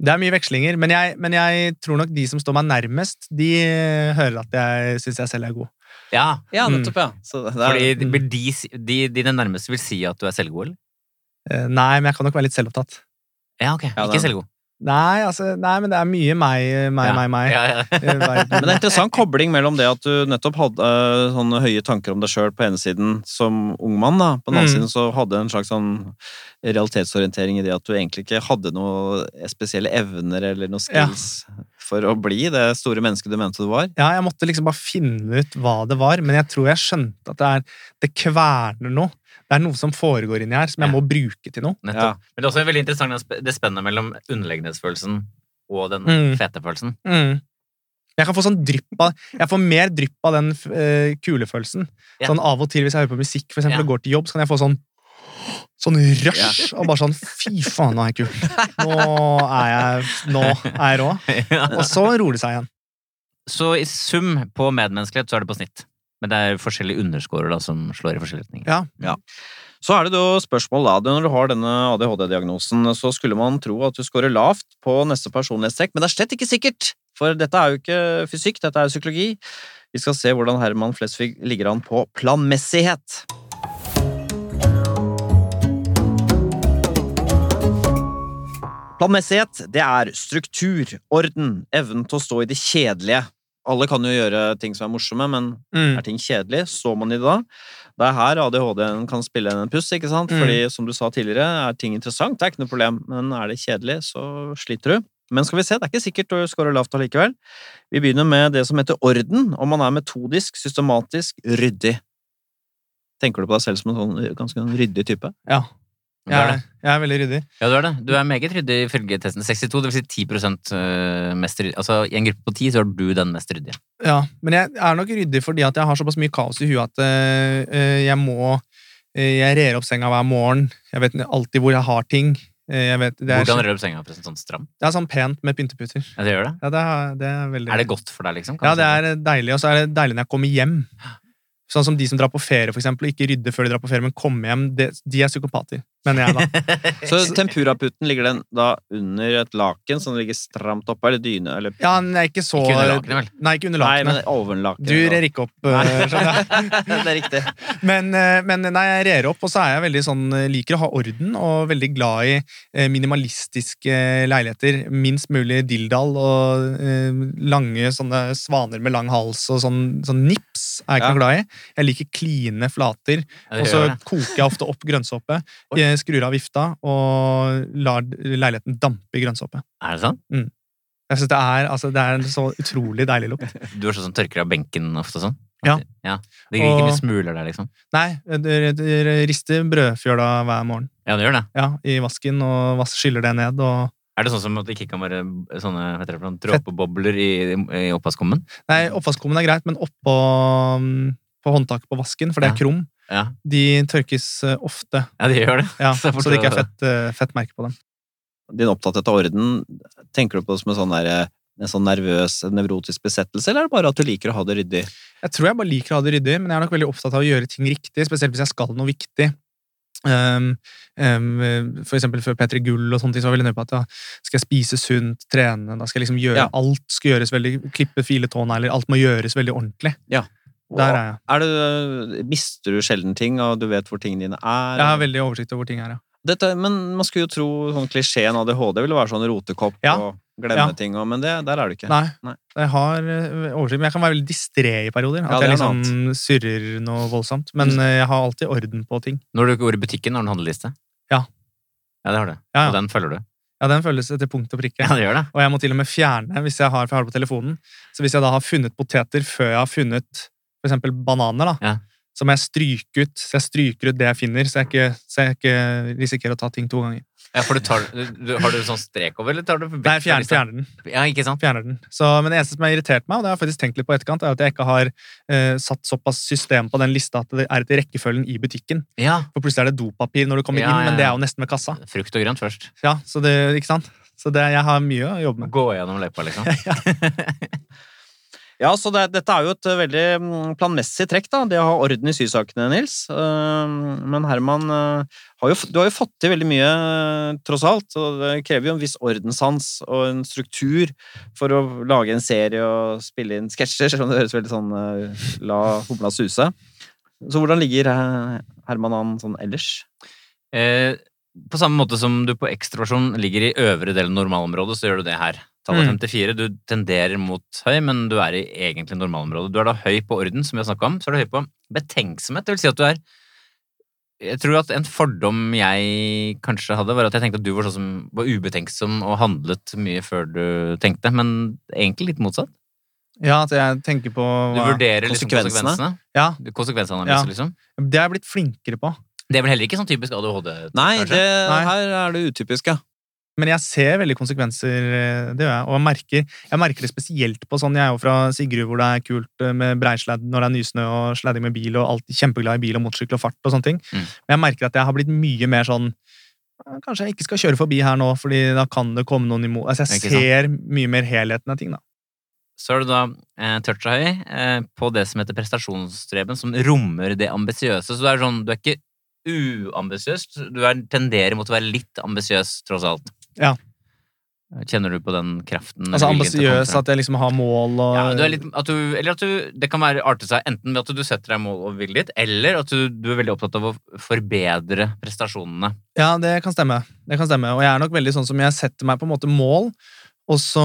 Speaker 4: Det er mye vekslinger, men jeg, men jeg tror nok de som står meg nærmest, de eh, hører at jeg syns jeg selv er god.
Speaker 3: Ja,
Speaker 2: Ja,
Speaker 4: Mm.
Speaker 2: nettopp, ja. Så det er,
Speaker 3: fordi vil de, si- de, dine nærmeste vil si at du er selvgod, eller?
Speaker 4: Eh, Nei, men jeg kan nok være litt selvopptatt.
Speaker 3: Ja, ok.
Speaker 2: Ja,
Speaker 3: Ikke
Speaker 2: det-
Speaker 3: selvgod.
Speaker 4: Nei, altså, nei, men det er mye meg, eh, meg, meg, meg.
Speaker 3: Ja, ja.
Speaker 4: Eh,
Speaker 2: Men
Speaker 4: verden.
Speaker 2: det er en interessant kobling mellom det at du nettopp hadde eh, sånne høye tanker om deg sjøl på ene siden som ung mann, da. På den andre
Speaker 4: Mm.
Speaker 2: siden så hadde du en slags sånn realitetsorientering i det at du egentlig ikke hadde noen spesielle evner eller noen
Speaker 4: Ja.
Speaker 2: skills for å bli det store mennesket du mente du var.
Speaker 4: Ja, jeg måtte liksom bare finne ut hva det var, men jeg tror jeg skjønte at det, er, det kverner noe. Det er noe som foregår inni her, som jeg
Speaker 3: Ja.
Speaker 4: må bruke til noe.
Speaker 3: Nettopp.
Speaker 2: Ja.
Speaker 3: Men det er også veldig interessant den sp- det spennet mellom underlegenhetsfølelsen og den
Speaker 4: Mm.
Speaker 3: fete følelsen.
Speaker 4: Jeg kan få sånn drypp av Jeg får mer drypp av den eh, kulefølelsen.
Speaker 3: Ja.
Speaker 4: Sånn Av og til hvis jeg hører på musikk for eksempel,
Speaker 3: Ja.
Speaker 4: og går til jobb, så kan jeg få sånn Sånn rush og bare sånn Fy faen, nå er jeg kul! Nå er jeg, nå er jeg rå. Og så roer det seg igjen.
Speaker 3: Så i sum på medmenneskelighet så er det på snitt. Men det er forskjellige underscorer da, som slår i forskjellige retninger.
Speaker 4: Ja.
Speaker 2: Så er det jo spørsmål da, når du har denne ADHD-diagnosen, så skulle man tro at du scorer lavt på neste personlighetstrekk, men det er slett ikke sikkert, for dette er jo ikke fysikk, dette er jo psykologi. Vi skal se hvordan Herman Flesvig ligger an på planmessighet. Planmessighet, det er struktur, orden, evnen til å stå i det kjedelige. Alle kan jo gjøre ting som er morsomme, men
Speaker 4: Mm.
Speaker 2: er ting kjedelig, står man i det da? Det er her ADHD-en kan spille en puss, ikke sant?
Speaker 4: Mm.
Speaker 2: Fordi som du sa tidligere, er ting interessant, det er ikke noe problem, men er det kjedelig, så sliter du. Men skal vi se, det er ikke sikkert du scorer lavt allikevel. Vi begynner med det som heter orden, om man er metodisk, systematisk, ryddig. Tenker du på deg selv som en sånn ganske ryddig type?
Speaker 4: Ja.
Speaker 3: Du
Speaker 4: Jeg
Speaker 3: er
Speaker 4: er,
Speaker 3: det.
Speaker 4: jeg er veldig ryddig.
Speaker 3: Ja, du er det. Du er meget ryddig ifølge testen. 62, det vil si 10 eh, mest ryddig. Altså i en gruppe på 10 så er du den mest ryddige.
Speaker 4: Ja, men jeg er nok ryddig fordi at jeg har såpass mye kaos i huet at øh, øh, jeg må øh, Jeg rer opp senga hver morgen. Jeg vet alltid hvor jeg har ting. Øh, Jeg vet, det,
Speaker 3: Hvordan rører
Speaker 4: er,
Speaker 3: du opp senga forresten sånn stram?
Speaker 4: det er sånn pent med pynteputer.
Speaker 3: Ja, det gjør det.
Speaker 4: Ja, det er, det er veldig
Speaker 3: Er det godt for deg, liksom? Kan
Speaker 4: Ja,
Speaker 3: du
Speaker 4: det
Speaker 3: si
Speaker 4: er eh, deilig. Og så er det deilig når jeg kommer hjem. Sånn som de som drar på ferie, for eksempel, og ikke rydder før de drar på ferie, men kommer hjem. Det, de er psykopater, mener jeg da.
Speaker 2: Så tempuraputen ligger den da under et laken som ligger stramt oppe, eller dyne, eller
Speaker 4: Ja, men jeg er ikke så
Speaker 3: Ikke under lakenet, vel?
Speaker 4: Nei, ikke under
Speaker 2: Nei, men
Speaker 4: lakenet.
Speaker 2: ovenlaken.
Speaker 4: Du rer ikke opp, øh, skjønner jeg.
Speaker 2: det er riktig.
Speaker 4: Men, eh, men nei, jeg rer opp, og så er jeg veldig sånn, eh, liker å ha orden, og veldig glad i eh, minimalistiske eh, leiligheter. Minst mulig dilldall og eh, lange sånne svaner med lang hals og sånn, sånn nips er jeg ikke
Speaker 2: Ja.
Speaker 4: noe glad i. Jeg liker kline flater,
Speaker 3: Ja,
Speaker 4: og
Speaker 3: det
Speaker 4: så
Speaker 3: gjør det.
Speaker 4: koker jeg ofte opp grønnsåpe,
Speaker 3: Oi.
Speaker 4: eh, skrur av vifta og lar leiligheten dampe i grønnsåpe.
Speaker 3: Er det sånn? sant?
Speaker 4: Jeg synes det er, altså, det er en så utrolig deilig lukt.
Speaker 3: Du er sånn som tørker av benken ofte og sånn?
Speaker 4: Ja.
Speaker 3: ja. Det ligger ikke
Speaker 4: Og-
Speaker 3: mye smuler der, liksom?
Speaker 4: Nei, dere dere rister brødfjøla hver morgen.
Speaker 3: Ja, det gjør det.
Speaker 4: Ja, i vasken, og vas- skyller det ned, og
Speaker 3: Er det sånn som at det ikke kan være sånne hva heter det, for noen dråpebobler i, i oppvaskkummen?
Speaker 4: Nei, oppvaskkummen er greit, men oppå mm, på håndtaket på vasken, for det
Speaker 3: Ja.
Speaker 4: er krum,
Speaker 3: Ja.
Speaker 4: de tørkes eh, ofte.
Speaker 3: ja, de gjør det.
Speaker 4: Ja,
Speaker 3: Så
Speaker 4: så,
Speaker 3: fort
Speaker 4: det ikke er
Speaker 3: det-
Speaker 4: fett, eh, fett merke på dem.
Speaker 2: din opptatthet av orden, tenker du på det som en sånn, der, en sånn nervøs, nevrotisk besettelse, eller er det bare at du liker å ha det ryddig?
Speaker 4: Jeg tror jeg bare liker å ha det ryddig, men jeg er nok veldig opptatt av å gjøre ting riktig, spesielt hvis jeg skal noe viktig. Um, um, for eksempel før P3 Gull og sånne ting, så var jeg veldig nøye på at ja, skal jeg spise sunt, trene, da skal jeg liksom gjøre
Speaker 2: Ja.
Speaker 4: alt, skal gjøres veldig, klippe file tånegler, alt må gjøres veldig ordentlig. Der er jeg.
Speaker 2: Er du, mister du sjelden ting, og du vet hvor tingene dine er?
Speaker 4: Jeg har veldig oversikt over hvor ting er, ja.
Speaker 2: Dette, men man skulle jo tro sånn klisjeen ADHD ville være sånn rotekopp
Speaker 4: Ja.
Speaker 2: og glemme
Speaker 4: Ja.
Speaker 2: ting, og, men det, der er du ikke.
Speaker 4: Nei.
Speaker 2: Nei.
Speaker 4: Jeg har eh, oversikt, men jeg kan være veldig distré i perioder. At
Speaker 2: Ja, det
Speaker 4: jeg
Speaker 2: er noe
Speaker 4: liksom surrer noe voldsomt. Men
Speaker 3: Mm.
Speaker 4: eh, jeg har alltid orden på ting.
Speaker 3: Når du går i butikken, har du en handleliste?
Speaker 4: Ja.
Speaker 3: Ja, det har du.
Speaker 4: Ja,
Speaker 3: Og
Speaker 4: ja.
Speaker 3: den følger du?
Speaker 4: ja den føles etter punkt og prikke.
Speaker 3: Ja, det gjør det.
Speaker 4: Og jeg må til og med fjerne hvis jeg har, for jeg har det på telefonen. Så hvis jeg da har funnet poteter før jeg har funnet for eksempel bananer, da,
Speaker 3: Ja.
Speaker 4: så må jeg stryke ut så jeg stryker ut det jeg finner, så jeg ikke, så jeg ikke risikerer å ta ting to ganger.
Speaker 3: Ja, for du tar, du, du, har du sånn strek over, eller tar du vekk
Speaker 4: Nei, jeg
Speaker 3: fra
Speaker 4: fjerner,
Speaker 3: lista?
Speaker 4: fjerner den.
Speaker 3: Ja, ikke sant?
Speaker 4: fjerner den. Så, men det eneste som har irritert meg, og det har jeg faktisk tenkt litt på i etterkant, er at jeg ikke har eh, satt såpass system på den lista at det er etter rekkefølgen i butikken.
Speaker 3: Ja.
Speaker 4: For plutselig er det dopapir når du kommer
Speaker 3: Ja, ja,
Speaker 4: inn, men det
Speaker 3: ja.
Speaker 4: er jo nesten ved kassa.
Speaker 3: Frukt og grønt først.
Speaker 4: Ja, så det, ikke sant? Så det, jeg har mye å jobbe med.
Speaker 3: Gå gjennom løypa, liksom.
Speaker 2: Ja, så det, dette er jo et eh, veldig mm, planmessig trekk, da, det å ha orden i sysakene, Nils. Eh, Men Herman, eh, har jo, f- du har jo fått til veldig mye, eh, tross alt. Og det krever jo en viss ordenssans og en struktur for å lage en serie og spille inn sketsjer, selv om det høres veldig sånn eh, la humla suse. Så hvordan ligger eh, Herman an sånn ellers?
Speaker 3: Eh, på samme måte som du på ekstraversjon ligger i øvre del av normalområdet, så gjør du det her. Tallet
Speaker 4: Mm.
Speaker 3: 54. Du tenderer mot høy, men du er i egentlig normalområdet. Du er da høy på orden, som vi har snakka om. Så er du høy på betenksomhet. Det vil si at du er Jeg tror at en fordom jeg kanskje hadde, var at jeg tenkte at du var sånn som var ubetenksom og handlet mye før du tenkte, men egentlig litt motsatt.
Speaker 4: Ja, at jeg tenker på
Speaker 3: Du
Speaker 4: hva-
Speaker 3: vurderer liksom
Speaker 2: konsekvensene?
Speaker 3: konsekvensene.
Speaker 4: Ja.
Speaker 3: Konsekvensanalyse,
Speaker 4: Ja.
Speaker 3: liksom.
Speaker 4: Det er jeg blitt flinkere på.
Speaker 3: Det er vel heller ikke sånn typisk ADHD?
Speaker 2: Nei,
Speaker 3: kanskje?
Speaker 2: det,
Speaker 4: Nei.
Speaker 2: her er det utypiske.
Speaker 4: Men jeg ser veldig konsekvenser, eh, det gjør jeg. Og jeg merker, jeg merker det spesielt på sånn Jeg er jo fra Sigrud, hvor det er kult eh, med breisledd når det er nysnø, og sledding med bil, og alltid kjempeglad i bil og motorsykkel og fart og sånne ting.
Speaker 3: Mm.
Speaker 4: Men jeg merker at jeg har blitt mye mer sånn eh, Kanskje jeg ikke skal kjøre forbi her nå, fordi da kan det komme noen imot Altså, jeg
Speaker 3: Ikke
Speaker 4: ser mye mer helheten av ting, da.
Speaker 3: så er du da eh, toucha høy eh, på det som heter prestasjonsstreben, som rommer det ambisiøse. Så du er sånn, du er ikke uambisiøs, du er, tenderer mot å være litt ambisiøs, tross alt. Eh,
Speaker 4: Ja.
Speaker 3: Kjenner du på den kraften? viljen til å
Speaker 4: Altså
Speaker 3: komme
Speaker 4: ambisiøs,
Speaker 3: frem?
Speaker 4: at jeg liksom har mål og
Speaker 3: ja, du er litt, at du, Eller at du Det kan være arte seg enten ved at du setter deg mål og vil dit, eller at du, du er veldig opptatt av å forbedre prestasjonene.
Speaker 4: Ja, det kan stemme. Det kan stemme. Og jeg er nok veldig sånn som jeg setter meg på en måte mål, og så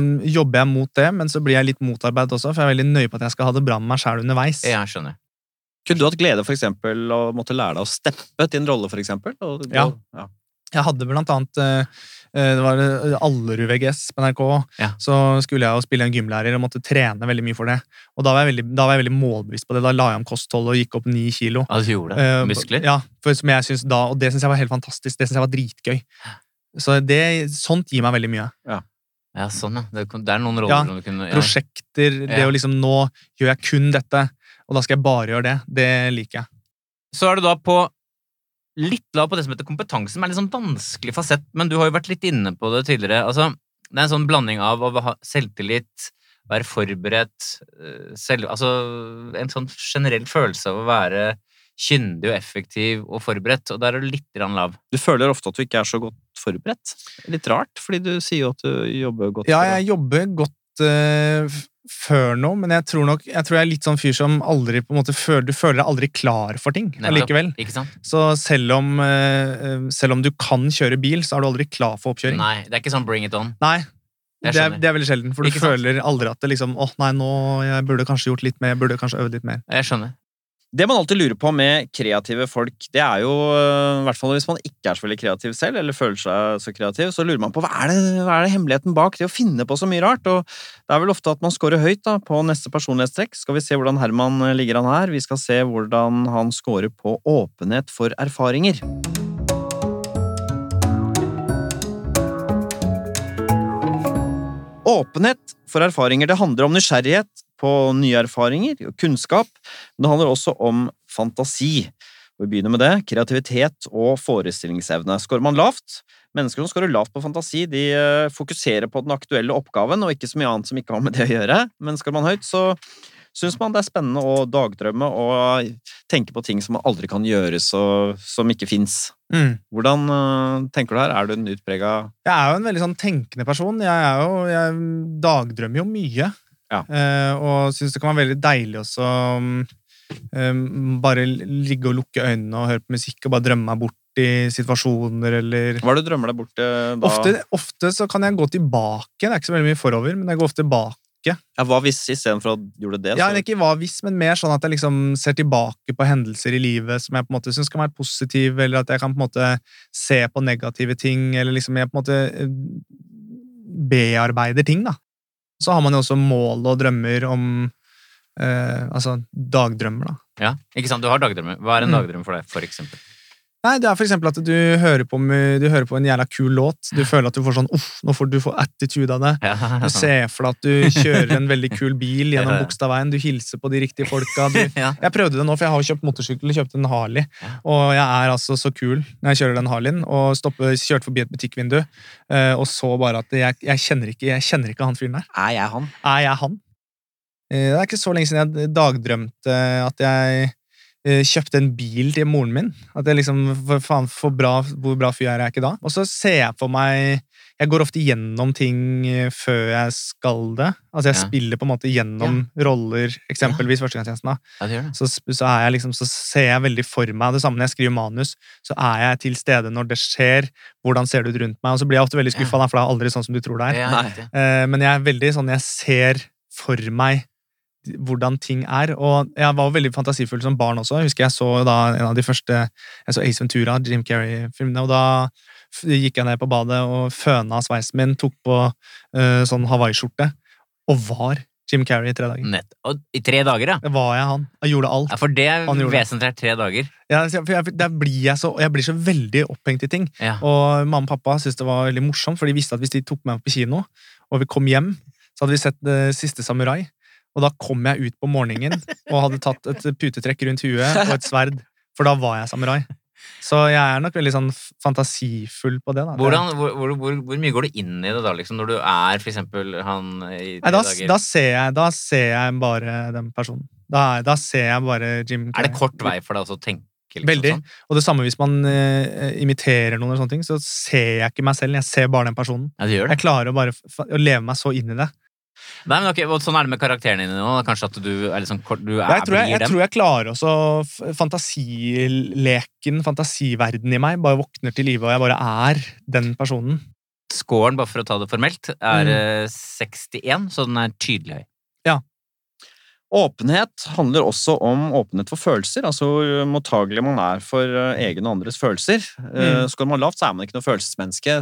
Speaker 4: mm, jobber jeg mot det, men så blir jeg litt motarbeidet også, for jeg er veldig nøye på at jeg skal ha det bra med meg sjæl underveis.
Speaker 3: Ja, jeg skjønner.
Speaker 2: Kunne du hatt glede for eksempel, å måtte lære deg å steppe til en rolle, for eksempel? Og,
Speaker 4: Ja.
Speaker 2: og- ja.
Speaker 4: Jeg hadde blant annet eh, eh, Det var eh, Allerud VGS på NRK.
Speaker 3: Ja.
Speaker 4: Så skulle jeg jo spille en gymlærer og måtte trene veldig mye for det. Og da var jeg veldig, da var jeg veldig målbevisst på det. Da la jeg om kosthold og gikk opp ni kilo.
Speaker 3: Ja, du gjorde det.
Speaker 4: Eh,
Speaker 3: Muskler.
Speaker 4: Ja, for som jeg synes da, og det syns jeg var helt fantastisk. Det syns jeg var dritgøy. Så det, sånt gir meg veldig mye.
Speaker 3: Ja, sånn, ja. Det, det er noen roller
Speaker 4: Ja,
Speaker 3: som du kunne ja.
Speaker 4: prosjekter, det
Speaker 3: Ja.
Speaker 4: å liksom nå gjør jeg kun dette, og da skal jeg bare gjøre det, det liker jeg.
Speaker 3: så er du da på litt lav på det som heter kompetanse, som er en litt sånn vanskelig fasett, men du har jo vært litt inne på det tidligere. Altså, det er en sånn blanding av å ha selvtillit, være forberedt, eh, selv, altså en sånn generell følelse av å være kyndig og effektiv og forberedt, og der er du litt grann lav.
Speaker 2: Du føler ofte at du ikke er så godt forberedt. Litt rart, fordi du sier jo at du jobber godt.
Speaker 4: Ja, jeg jobber godt eh, f- før nå, men jeg tror nok jeg tror jeg er litt sånn fyr som aldri på en måte føler, Du føler deg aldri klar for ting
Speaker 3: Nettopp.
Speaker 4: allikevel.
Speaker 3: Ikke sant?
Speaker 4: Så selv om, eh, eh, selv om du kan kjøre bil, så er du aldri klar for oppkjøring.
Speaker 3: Nei, det er ikke sånn bring it on.
Speaker 4: Nei,
Speaker 3: Jeg
Speaker 4: det er,
Speaker 3: skjønner.
Speaker 4: det er veldig sjelden, for du
Speaker 3: Ikke sant?
Speaker 4: føler aldri at det liksom åh nei, nå jeg burde kanskje gjort litt mer, jeg burde kanskje øvd litt mer.
Speaker 3: Jeg skjønner.
Speaker 2: Det man alltid lurer på med kreative folk, det er jo øh, I hvert fall hvis man ikke er så veldig kreativ selv, eller føler seg så kreativ, så lurer man på hva er, det, hva er det hemmeligheten bak det å finne på så mye rart? Og det er vel ofte at man scorer høyt da, på neste personlighetstrekk. Skal vi se hvordan Herman øh, ligger an her? Vi skal se hvordan han scorer på åpenhet for erfaringer. Åpenhet for erfaringer. Det handler om nysgjerrighet på nye erfaringer og kunnskap, men det handler også om fantasi. Og Vi begynner med det. Kreativitet og forestillingsevne. Skårer man lavt? Mennesker som skårer lavt på fantasi, de eh, fokuserer på den aktuelle oppgaven og ikke så mye annet som ikke har med det å gjøre. Men skårer man høyt, så syns man det er spennende å dagdrømme og tenke på ting som aldri kan gjøres, og som ikke fins.
Speaker 4: Mm.
Speaker 2: Hvordan eh, tenker du her? Er du en utprega
Speaker 4: Jeg er jo en veldig sånn tenkende person. Jeg, er jo, jeg dagdrømmer jo mye.
Speaker 2: Ja.
Speaker 4: Eh, og syns det kan være veldig deilig også um, bare ligge og lukke øynene og høre på musikk og bare drømme meg bort i situasjoner eller
Speaker 2: Hva er det du drømmer deg bort til da?
Speaker 4: ofte, ofte så kan jeg gå tilbake. Det er ikke så veldig mye forover, men jeg går ofte tilbake.
Speaker 2: Ja, hva hvis istedenfor at du gjorde det?
Speaker 4: Ja,
Speaker 2: så-
Speaker 4: ikke hva hvis, men mer sånn at jeg liksom ser tilbake på hendelser i livet som jeg på en måte syns kan være positive, eller at jeg kan på en måte se på negative ting, eller liksom jeg på en måte eh, bearbeider ting, da. Så har man jo også mål og drømmer om eh, Altså dagdrømmer, da.
Speaker 3: Ja, ikke sant? Du har dagdrømmer. Hva er en
Speaker 4: Mm.
Speaker 3: dagdrøm for deg, for eksempel?
Speaker 4: Nei, det er for eksempel at du hører på, mu- du hører på en jævla kul låt. Du føler at du får sånn uff, nå får du får attitude av det.
Speaker 3: Ja,
Speaker 4: Du
Speaker 3: sånn.
Speaker 4: ser for deg at du kjører en veldig kul bil
Speaker 3: Ja,
Speaker 4: gjennom
Speaker 3: ja.
Speaker 4: Bogstadveien, du hilser på de riktige folka, du
Speaker 3: ja.
Speaker 4: Jeg prøvde det nå, for jeg har jo kjøpt motorsykkel, kjøpt en Harley,
Speaker 3: Ja.
Speaker 4: og jeg er altså så kul når jeg kjører den Harleyen, og stopper, kjørte forbi et butikkvindu, eh, og så bare at jeg, jeg, kjenner ikke, jeg kjenner ikke han fyren der.
Speaker 2: Er jeg han?
Speaker 4: Er jeg han? Eh, Det er ikke så lenge siden jeg dagdrømte at jeg eh, kjøpte en bil til moren min. At jeg liksom, for faen, for bra, hvor bra fyr er jeg ikke da? Og så ser jeg for meg Jeg går ofte gjennom ting eh, før jeg skal det. Altså, jeg
Speaker 3: Ja.
Speaker 4: spiller på en måte gjennom roller, eksempelvis Førstegangstjenesten. da
Speaker 3: Ja, det gjør det.
Speaker 4: så, sp- så, er jeg liksom, så ser jeg veldig for meg det samme når jeg skriver manus. Så er jeg til stede når det skjer. Hvordan ser det ut rundt meg? Og så blir jeg ofte veldig
Speaker 3: Ja.
Speaker 4: skuffa, da, for det er aldri sånn som du tror det er.
Speaker 3: Ja,
Speaker 2: Nei.
Speaker 3: riktig.
Speaker 4: Eh, Men jeg er veldig sånn Jeg ser for meg hvordan ting er. Og jeg var jo veldig fantasifull som barn også. Jeg husker jeg så da en av de første Jeg så Ace Ventura, Jim Carrey-filmene, og da f- gikk jeg ned på badet og føna sveisen min, tok på eh, sånn hawaiiskjorte, og var Jim Carrey i tre dager.
Speaker 3: Nett. Og I tre dager, ja.
Speaker 4: Det var jeg han. Jeg gjorde alt.
Speaker 3: ja for det er
Speaker 4: Han gjorde det.
Speaker 3: vesentlig er tre dager.
Speaker 4: Ja, så jeg- for jeg, der blir jeg, så, jeg blir så veldig opphengt i ting.
Speaker 3: Ja.
Speaker 4: Og mamma og pappa syntes det var veldig morsomt, for de visste at hvis de tok meg med på kino, og vi kom hjem, så hadde vi sett eh, Siste samurai. Og da kom jeg ut på morgenen og hadde tatt et putetrekk rundt huet og et sverd. For da var jeg samurai. Så jeg er nok veldig sånn f- fantasifull på det. da.
Speaker 3: Hvordan, hvor, hvor, hvor, hvor mye går du inn i det da, liksom, når du er for eksempel han i tre
Speaker 4: Nei, da,
Speaker 3: dager?
Speaker 4: da, ser jeg, da ser jeg bare den personen. Da, er- da ser jeg bare Jim
Speaker 3: er
Speaker 4: Carrey.
Speaker 3: det kort vei for deg også å tenke? Liksom,
Speaker 4: Veldig.
Speaker 3: Sånn?
Speaker 4: Og det samme hvis man eh, imiterer noen, eller sånne ting, så ser jeg ikke meg selv. Jeg ser bare den personen.
Speaker 3: Ja, det gjør det.
Speaker 4: Jeg klarer å bare f- å leve meg så inn i det.
Speaker 3: Nei, men ok, og Sånn er det med karakterene dine nå. da. Kanskje at du er litt sånn kort Du er,
Speaker 4: Jeg tror jeg,
Speaker 3: blir
Speaker 4: jeg,
Speaker 3: dem.
Speaker 4: tror jeg klarer også f- Fantasileken, fantasiverdenen i meg, bare våkner til live, og jeg bare er den personen.
Speaker 3: Scoren, bare for å ta det formelt,
Speaker 4: Mm.
Speaker 3: er eh, 61, så den er tydelig høy.
Speaker 2: Åpenhet handler også om åpenhet for følelser, altså hvor mottagelig man er for eh, egen og andres følelser. Eh, Skårer man lavt, så er man ikke noe følelsesmenneske.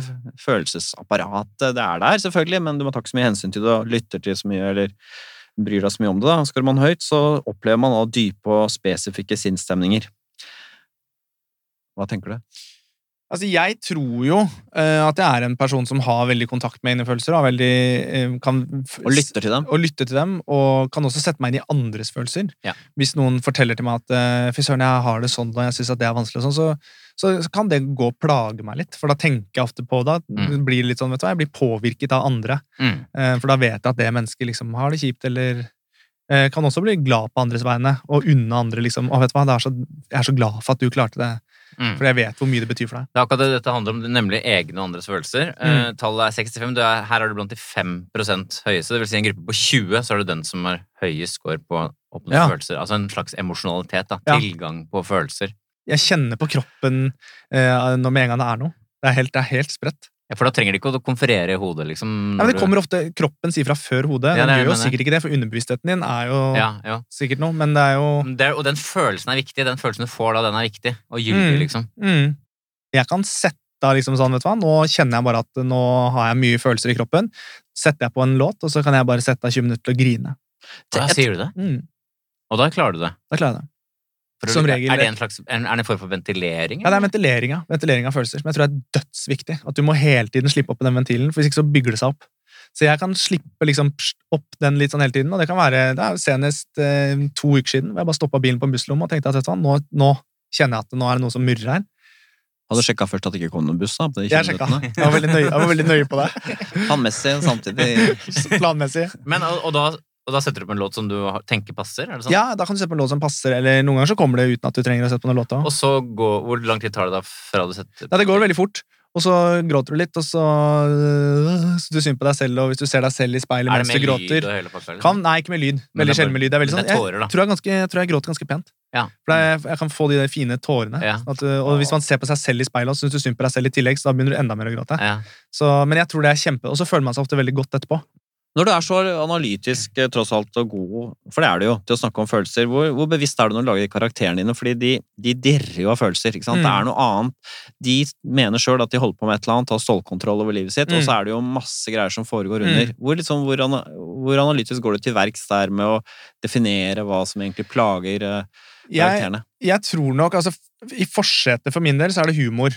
Speaker 2: Følelsesapparatet det er der, selvfølgelig, men du må ta ikke så mye hensyn til det og lytter til så mye eller bryr deg så mye om det. da. Skårer man høyt, så opplever man da dype og spesifikke sinnsstemninger. Hva tenker du?
Speaker 4: Altså, jeg tror jo eh, at jeg er en person som har veldig kontakt med egne følelser, og er veldig, eh, kan f-
Speaker 2: Og lytter til dem?
Speaker 4: og lytte til dem, og kan også sette meg inn i andres følelser.
Speaker 3: Ja.
Speaker 4: Hvis noen forteller til meg at eh, fy søren, jeg har det sånn, og jeg syns at det er vanskelig, og sånn, så, så kan det gå og plage meg litt. For da tenker jeg ofte på det. at
Speaker 3: Mm.
Speaker 4: det blir litt sånn, vet du hva, Jeg blir påvirket av andre.
Speaker 3: Mm.
Speaker 4: eh, For da vet jeg at det mennesket liksom har det kjipt, eller eh, kan også bli glad på andres vegne, og unne andre liksom Å, vet du hva, det er så, jeg er så glad for at du klarte det,
Speaker 3: Mm.
Speaker 4: for jeg vet hvor mye det betyr for deg.
Speaker 3: Det er akkurat det dette handler om, det er nemlig egne og andres følelser.
Speaker 4: Mm.
Speaker 3: Eh, tallet er 65. Du er, her er du blant de 5 høyeste. Det vil si en gruppe på 20, så er det den som har høyest score på åpne
Speaker 4: Ja.
Speaker 3: følelser. Altså en slags emosjonalitet. da,
Speaker 4: Ja.
Speaker 3: Tilgang på følelser.
Speaker 4: Jeg kjenner på kroppen eh, når med en gang det er noe. Det er helt, det er helt spredt.
Speaker 3: Ja, for da trenger de ikke å konferere i hodet, liksom.
Speaker 4: Ja, men
Speaker 3: når
Speaker 4: det
Speaker 3: du-
Speaker 4: kommer ofte, Kroppen sier fra før hodet.
Speaker 3: Ja, det er
Speaker 4: den
Speaker 3: det
Speaker 4: gjør
Speaker 3: jeg
Speaker 4: jo
Speaker 3: mener.
Speaker 4: sikkert ikke det, for underbevisstheten din er jo
Speaker 3: ja, ja.
Speaker 4: sikkert noe, men det er jo
Speaker 3: Men det er- og den følelsen er viktig. Den følelsen du får da, den er viktig. Og gyldig,
Speaker 4: Mm.
Speaker 3: liksom.
Speaker 4: mm. Jeg kan sette av liksom sånn, vet du hva, nå kjenner jeg bare at nå har jeg mye følelser i kroppen. Setter jeg på en låt, og så kan jeg bare sette av 20 minutter til å grine.
Speaker 3: Ja, sier du det?
Speaker 4: Mm.
Speaker 3: Og da klarer du det.
Speaker 4: Da klarer jeg det.
Speaker 3: For å-
Speaker 4: Som regel-
Speaker 3: Er det en, slags, er det en form for ventilering?
Speaker 4: Ja, det er
Speaker 3: eller?
Speaker 4: ventilering, ja. ventilering av følelser, som jeg tror er dødsviktig. At du må hele tiden slippe opp i den ventilen, for hvis ikke så bygger det seg opp. Så jeg kan slippe liksom pst, opp den litt sånn hele tiden, og det kan være det er jo senest eh, to uker siden, hvor jeg bare stoppa bilen på en busslomme og tenkte at vet du hva, nå, nå kjenner jeg at nå er det noe som murrer her.
Speaker 2: Hadde sjekka først at det ikke kom noen buss, da. på de
Speaker 4: Jeg
Speaker 2: 20
Speaker 4: sjekka.
Speaker 2: minuttene.
Speaker 4: Jeg var veldig nøye, jeg var veldig nøye på det.
Speaker 2: Planmessig samtidig.
Speaker 4: Planmessig.
Speaker 3: Men, og, og, da, og da setter du opp en låt som du har- tenker passer? er det sånn?
Speaker 4: Ja, da kan du se på en låt som passer, eller noen ganger så kommer det uten at du trenger å sette på noen låt òg.
Speaker 3: Og så går, Hvor lang tid tar det da fra du setter
Speaker 4: Nei, det går veldig fort. Og så gråter du litt, og så øh, så du synd på deg selv, og hvis du ser deg selv i speilet
Speaker 3: Er det
Speaker 4: mens du
Speaker 3: med
Speaker 4: gråter
Speaker 3: lyd og hele pakka? liksom?
Speaker 4: Kan, nei, ikke med
Speaker 3: Men
Speaker 4: lyd.
Speaker 3: det
Speaker 4: Veldig
Speaker 3: er bare-
Speaker 4: sjelden med lyd. Det er veldig
Speaker 3: men
Speaker 4: sånn,
Speaker 3: det er
Speaker 4: jeg,
Speaker 3: tårer, da.
Speaker 4: tror jeg, ganske, jeg tror jeg gråter ganske pent.
Speaker 3: Ja.
Speaker 4: For det, er- jeg kan få de der fine tårene.
Speaker 3: Ja.
Speaker 4: Sånn At, uh, og hvis man ser på seg selv i speilet og syns du synd på deg selv i tillegg, så da begynner du enda mer å gråte.
Speaker 3: Ja.
Speaker 4: Så, men jeg tror det er kjempe, Og så føler man seg ofte veldig godt etterpå.
Speaker 2: Når du er så analytisk eh, tross alt og god, for det er det jo, til å snakke om følelser, hvor, hvor bevisst er du når du lager de karakterene dine? Fordi de, de dirrer jo av følelser. ikke sant? Det
Speaker 4: Mm.
Speaker 2: er noe annet. De mener sjøl at de holder på med et eller annet, har stålkontroll over livet sitt, og
Speaker 4: Mm.
Speaker 2: så er det jo masse greier som foregår
Speaker 4: Mm.
Speaker 2: under. Hvor, liksom, hvor, ana, hvor analytisk går du til verks der med å definere hva som egentlig plager eh,
Speaker 4: Jeg,
Speaker 2: karakterene?
Speaker 4: jeg tror nok, altså f- I forsetet for min del så er det humor.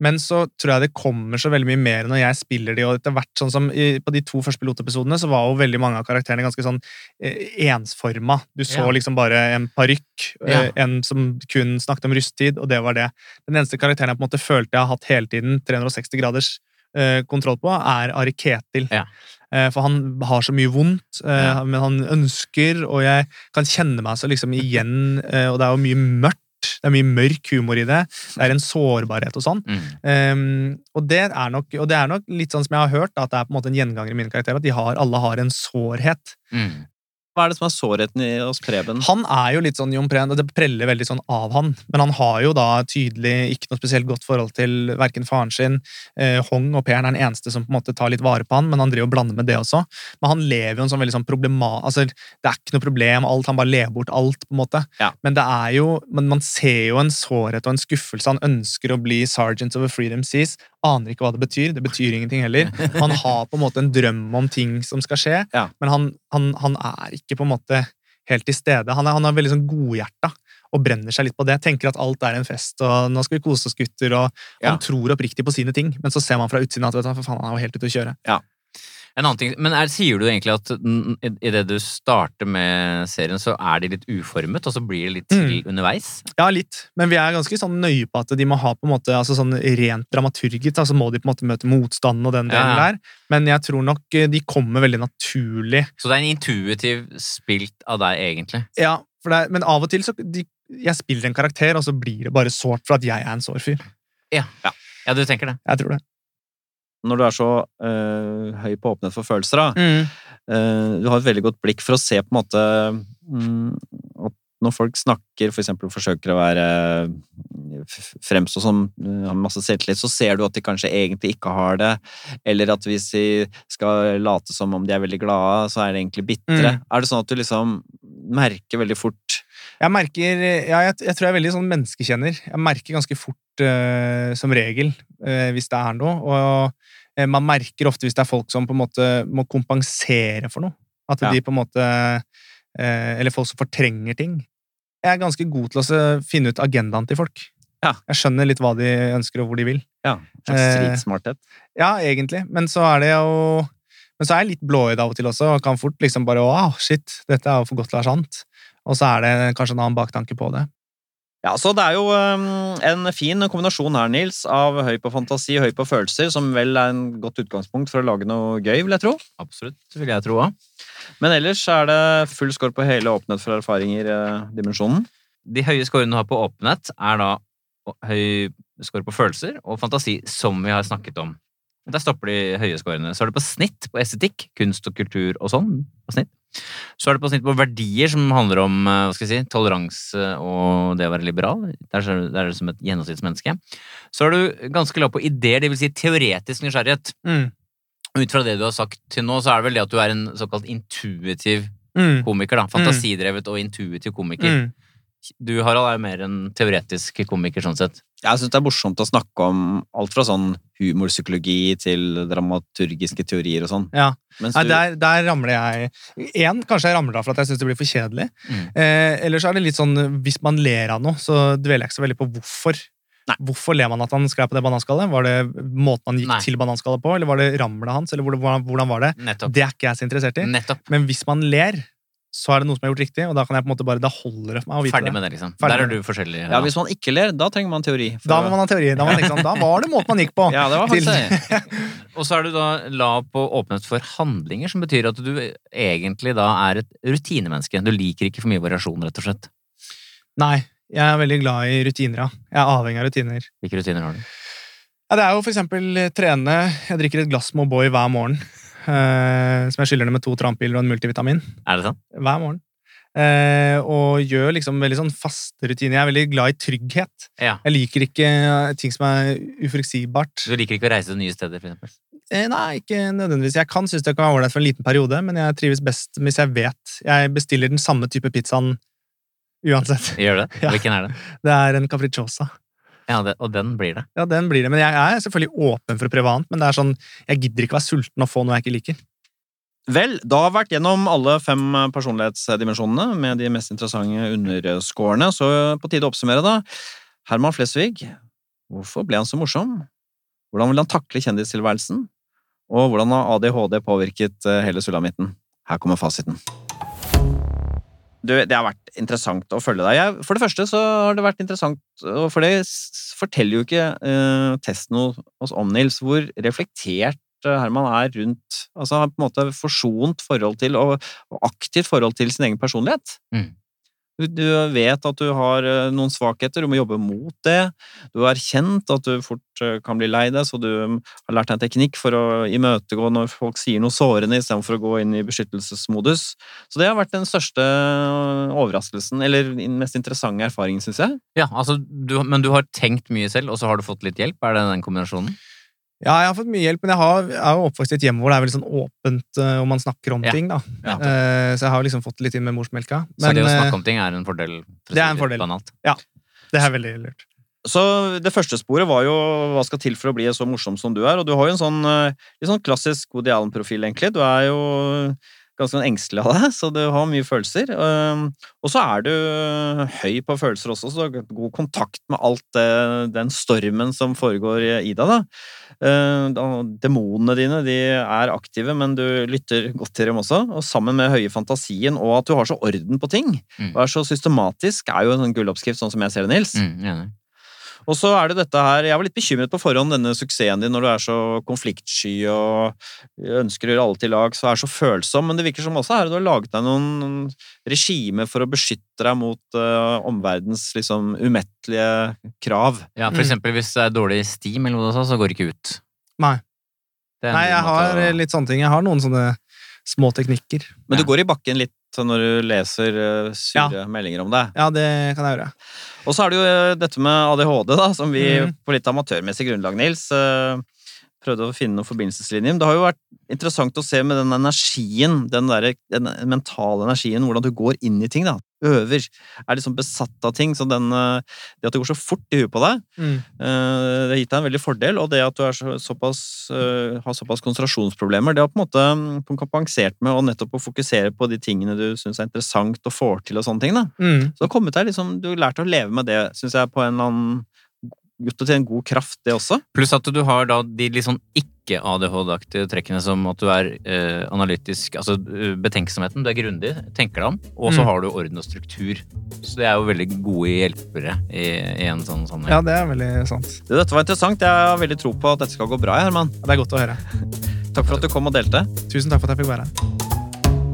Speaker 4: Men så tror jeg det kommer så veldig mye mer når jeg spiller de, og etter hvert sånn som i, på de to første pilotepisodene så var jo veldig mange av karakterene ganske sånn eh, ensforma. Du så
Speaker 3: Ja.
Speaker 4: liksom bare en parykk, eh,
Speaker 3: Ja.
Speaker 4: en som kun snakket om rysttid, og det var det. Den eneste karakteren jeg på en måte følte jeg har hatt hele tiden 360 graders eh, kontroll på, er Ari Ketil.
Speaker 3: Ja.
Speaker 4: Eh, Eh, For han har så mye vondt, eh,
Speaker 3: Ja.
Speaker 4: men han ønsker, og jeg kan kjenne meg så liksom igjen eh, Og det er jo mye mørkt, det er mye mørk humor i det. Det er en sårbarhet og sånn.
Speaker 3: Mm.
Speaker 4: Ehm, og, det er nok, og det er nok litt sånn som jeg har hørt, da, at det er på en måte en gjenganger i mine karakterer. At de har, alle har en sårhet.
Speaker 3: Mm.
Speaker 2: Hva er det som er sårheten i hos Preben?
Speaker 4: Han er jo litt sånn Jon Prehn, og det preller veldig sånn av han. Men han har jo da tydelig ikke noe spesielt godt forhold til verken faren sin. Eh, Hong og Peren er den eneste som på en måte tar litt vare på han, men han driver og blander med det også. Men han lever jo en sånn veldig sånn problema... Altså, det er ikke noe problem, alt. Han bare lever bort alt, på en måte.
Speaker 2: Ja.
Speaker 4: Men det er jo Men man ser jo en sårhet og en skuffelse. Han ønsker å bli sergeant of a freedom seas. Aner ikke hva det betyr. Det betyr ingenting heller. Han har på en måte en drøm om ting som skal skje,
Speaker 2: Ja.
Speaker 4: men han, han, han er ikke på en måte helt til stede. Han er, han er veldig sånn godhjerta og brenner seg litt på det. Tenker at alt er en fest, og nå skal vi kose oss, gutter. og
Speaker 2: Ja.
Speaker 4: Han tror oppriktig på sine ting, men så ser man fra utsiden at vet du, hva, for faen, han er jo helt ute å kjøre.
Speaker 3: En annen ting, men er, Sier du egentlig at n- i- i det du starter med serien, så er de litt uformet, og så blir det litt til underveis?
Speaker 4: Ja, litt. Men vi er ganske sånn nøye på at de må ha på en måte, altså sånn rent dramaturgisk, altså må de på en måte møte motstanden og den
Speaker 3: Ja,
Speaker 4: delen
Speaker 3: ja.
Speaker 4: der. Men jeg tror nok eh, de kommer veldig naturlig.
Speaker 3: Så det er en intuitiv spilt av deg, egentlig.
Speaker 4: Ja, for det, er- Men av og til så de, Jeg spiller en karakter, og så blir det bare sårt for at jeg er en sår fyr.
Speaker 3: Ja, du tenker det.
Speaker 4: Jeg tror det.
Speaker 2: Når du er så eh, høy på åpenhet for følelser, da. Eh, du har et veldig godt blikk for å se på en måte mm, at når folk snakker, for eksempel forsøker å være eh, f- fremstå som eh, har masse selvtillit, så ser du at de kanskje egentlig ikke har det. Eller at hvis de skal late som om de er veldig glade, så er de egentlig bitre.
Speaker 4: Mm.
Speaker 2: Er det sånn at du liksom merker veldig fort
Speaker 4: Jeg merker, ja, jeg, jeg tror jeg er veldig sånn menneskekjenner. Jeg merker ganske fort eh, som regel eh, hvis det er noe. Og eh, man merker ofte hvis det er folk som på en måte må kompensere for noe. At
Speaker 2: Ja.
Speaker 4: de på en måte eh, Eller folk som fortrenger ting. Jeg er ganske god til å se- finne ut agendaen til folk.
Speaker 2: Ja.
Speaker 4: Jeg skjønner litt hva de ønsker, og hvor de vil.
Speaker 2: ja, en slags
Speaker 4: Eh.
Speaker 2: stridsmarthet?
Speaker 4: Ja, egentlig. Men så er det jo Men så er jeg litt blåøyd av og til også, og kan fort liksom bare Wow, shit, dette er jo for godt til å være sant. Og så er det kanskje en annen baktanke på det.
Speaker 2: Ja, så det er jo øhm, en fin kombinasjon her, Nils, av høy på fantasi, høy på følelser, som vel er en godt utgangspunkt for å lage noe gøy, vil jeg tro.
Speaker 3: Absolutt, vil jeg tro òg.
Speaker 2: Men ellers er det full skår på hele åpenhet for eh, erfaringer-dimensjonen.
Speaker 3: De høye scorene du har på åpenhet, er da å- høy score på følelser og fantasi, som vi har snakket om. Der stopper de høye scorene. Så er det på snitt på estetikk, kunst og kultur og sånn. på snitt. Så er det på snitt på verdier, som handler om eh, hva skal jeg si, toleranse og det å være liberal. Der er det er du som et gjennomsnittsmenneske. Så er du ganske lav på ideer, dvs. Si teoretisk nysgjerrighet.
Speaker 4: Mm.
Speaker 3: Ut fra det du har sagt til nå, så er det vel det at du er en såkalt intuitiv
Speaker 4: Mm.
Speaker 3: komiker. da. Fantasidrevet og intuitiv komiker.
Speaker 4: Mm.
Speaker 3: Du, Harald, er jo mer en teoretisk komiker sånn sett.
Speaker 2: Jeg syns det er morsomt å snakke om alt fra sånn humorpsykologi til dramaturgiske teorier og sånn.
Speaker 4: Ja.
Speaker 2: Mens
Speaker 4: Nei,
Speaker 2: du,
Speaker 4: der, der ramler jeg Én, kanskje jeg ramler av for at jeg syns det blir for kjedelig.
Speaker 3: Mm.
Speaker 4: Eh, Eller så er det litt sånn hvis man ler av noe, så dveler jeg ikke så veldig på hvorfor.
Speaker 2: Nei.
Speaker 4: Hvorfor ler man at han sklei på det bananskallet? Var det måten han gikk
Speaker 3: Nei.
Speaker 4: til bananskallet på, eller var det ramlet hans, eller hvordan- hvordan, hvordan var det?
Speaker 3: Nettopp.
Speaker 4: Det er ikke jeg så interessert i.
Speaker 3: Nettopp.
Speaker 4: Men hvis man ler, så er det noe som er gjort riktig, og da kan jeg på en måte bare, da holder det for meg å vite
Speaker 3: Ferdig
Speaker 4: det.
Speaker 3: med det, liksom.
Speaker 4: Ferdig
Speaker 3: Der er
Speaker 4: med
Speaker 3: du forskjellig.
Speaker 2: ja,
Speaker 3: Harald.
Speaker 2: hvis man ikke ler, da trenger man teori. for
Speaker 4: Da
Speaker 2: å-
Speaker 4: må man ha teori. Da, må man tenke sånn, da var det måten man gikk på.
Speaker 2: Ja, det var
Speaker 4: Til-
Speaker 2: faktisk det.
Speaker 3: Og så er du da lav på åpenhet for handlinger, som betyr at du egentlig da er et rutinemenneske. Du liker ikke for mye variasjon, rett og slett.
Speaker 4: Nei, jeg er veldig glad i rutiner, ja. Jeg er avhengig av rutiner.
Speaker 3: Hvilke rutiner har du?
Speaker 4: Ja, det er jo for eksempel eh, trene. Jeg drikker et glass med O'boy hver morgen. eh, som jeg skyller ned med to trampiller og en multivitamin.
Speaker 3: Er det sant?
Speaker 4: Hver morgen. Eh, og gjør liksom veldig sånn faste rutiner. Jeg er veldig glad i trygghet.
Speaker 3: Ja.
Speaker 4: Jeg liker ikke eh, ting som er uforutsigbart.
Speaker 3: Du liker ikke å reise til nye steder, for eksempel.
Speaker 4: Eh, nei, ikke nødvendigvis. Jeg kan synes det kan være ålreit for en liten periode, men jeg trives best hvis jeg vet. Jeg bestiller den samme type pizzaen uansett.
Speaker 3: Gjør det?
Speaker 4: Ja.
Speaker 3: Hvilken er det?
Speaker 4: Det er en capricciosa.
Speaker 3: Ja, det, og den blir det.
Speaker 4: Ja, den blir det. Men jeg er selvfølgelig åpen for å prøve annet, men det er sånn, jeg gidder ikke være sulten og få noe jeg ikke liker.
Speaker 2: Vel, da har vi vært gjennom alle fem personlighetsdimensjonene med de mest interessante underskårene, så på tide å oppsummere, da. Herman Flesvig, hvorfor ble han så morsom? Hvordan vil han takle kjendistilværelsen? Og hvordan har ADHD påvirket eh, hele sulamitten? Her kommer fasiten. Du, det har vært interessant å følge deg. Jeg, for det første så har det vært interessant, og for det s- forteller jo ikke eh, testen hos oss om, Nils, hvor reflektert eh, Herman er rundt Altså har på en måte forsont forhold til, og, og aktivt forhold til sin egen personlighet.
Speaker 3: Mm.
Speaker 2: Du, du vet at du har eh, noen svakheter, du må jobbe mot det. Du har erkjent at du fort eh, kan bli lei deg, så du mm, har lært deg en teknikk for å imøtegå når folk sier noe sårende, istedenfor å gå inn i beskyttelsesmodus. Så det har vært den største eh, overraskelsen, eller den mest interessante erfaringen, syns jeg.
Speaker 3: Ja, altså, du, men du har tenkt mye selv, og så har du fått litt hjelp? Er det den kombinasjonen?
Speaker 4: Ja, jeg har fått mye hjelp, men jeg har, jeg er jo oppvokst i et hjem hvor det er veldig sånn åpent eh, og man snakker om
Speaker 3: Ja.
Speaker 4: ting. da.
Speaker 2: Ja.
Speaker 4: Eh, så jeg har jo liksom fått litt inn med morsmelka.
Speaker 3: Så det å
Speaker 4: eh,
Speaker 3: snakke om ting er en fordel? for å
Speaker 4: det er
Speaker 3: si
Speaker 4: en
Speaker 3: litt
Speaker 4: fordel.
Speaker 3: Banalt.
Speaker 4: det er veldig lurt.
Speaker 2: Så det første sporet var jo hva skal til for å bli så morsom som du er, og du har jo en sånn, eh, litt sånn klassisk Woody Allen-profil, egentlig. Du er jo ganske sånn engstelig av deg, så du har mye følelser. Um, Og så er du høy på følelser også, så du har god kontakt med alt det, den stormen som foregår i deg, da. Eh, da- Demonene dine, de er aktive, men du lytter godt til dem også, og sammen med høye fantasien, og at du har så orden på ting,
Speaker 3: Mm.
Speaker 2: og er så systematisk, er jo en sånn gulloppskrift, sånn som jeg ser det, Nils.
Speaker 3: Mm, enig.
Speaker 2: Og så er det dette her, Jeg var litt bekymret på forhånd denne suksessen din når du er så konfliktsky og ønsker å gjøre alle til lag, så er så følsom, men det virker som også her du har laget deg noen regimer for å beskytte deg mot eh, omverdens liksom umettelige krav.
Speaker 3: ja, for
Speaker 4: Mm.
Speaker 3: eksempel hvis det er dårlig steam, eller noe sånt, så går det ikke ut.
Speaker 4: Nei.
Speaker 3: Det er en
Speaker 4: Nei, jeg
Speaker 3: god måte
Speaker 4: har
Speaker 3: å-
Speaker 4: eh, litt sånne ting. Jeg har noen sånne små teknikker.
Speaker 2: Men du
Speaker 3: Ja.
Speaker 2: går i bakken litt når du leser eh, sure meldinger om deg.
Speaker 4: Ja, det kan jeg gjøre.
Speaker 2: Og så er det jo eh, dette med ADHD, da, som vi
Speaker 4: Mhm.
Speaker 2: på litt amatørmessig grunnlag, Nils, eh, prøvde å finne noen forbindelseslinjer. Men det har jo vært interessant å se med den energien, den, der, den mentale energien, hvordan du går inn i ting, da. Øver. Er liksom besatt av ting. Så den, eh, det at det går så fort i huet på deg,
Speaker 4: Mm.
Speaker 2: eh, det har gitt deg en veldig fordel. Og det at du er så, såpass, eh, har såpass konsentrasjonsproblemer, det har på en måte mm, kompensert med å nettopp å fokusere på de tingene du syns er interessant og får til, og sånne ting, da.
Speaker 4: Mm.
Speaker 2: Så det har kommet deg liksom, Du har lært å leve med det, syns jeg, på en eller annen Gjort det til en god kraft, det også.
Speaker 3: Pluss at du har da de litt sånn ikke-ADHD-aktige trekkene som at du er eh, analytisk Altså eh, betenksomheten, du er grundig, tenker deg om, og så
Speaker 4: Mm.
Speaker 3: har du orden og struktur. Så det er jo veldig gode hjelpere i, i en sånn sammenheng.
Speaker 4: Ja, det er veldig sant.
Speaker 2: Du, Dette var interessant. Jeg har veldig tro på at dette skal gå bra. Herman.
Speaker 4: Ja, Det er godt å høre.
Speaker 2: Takk for at du kom og delte.
Speaker 4: Tusen takk for at jeg fikk være her.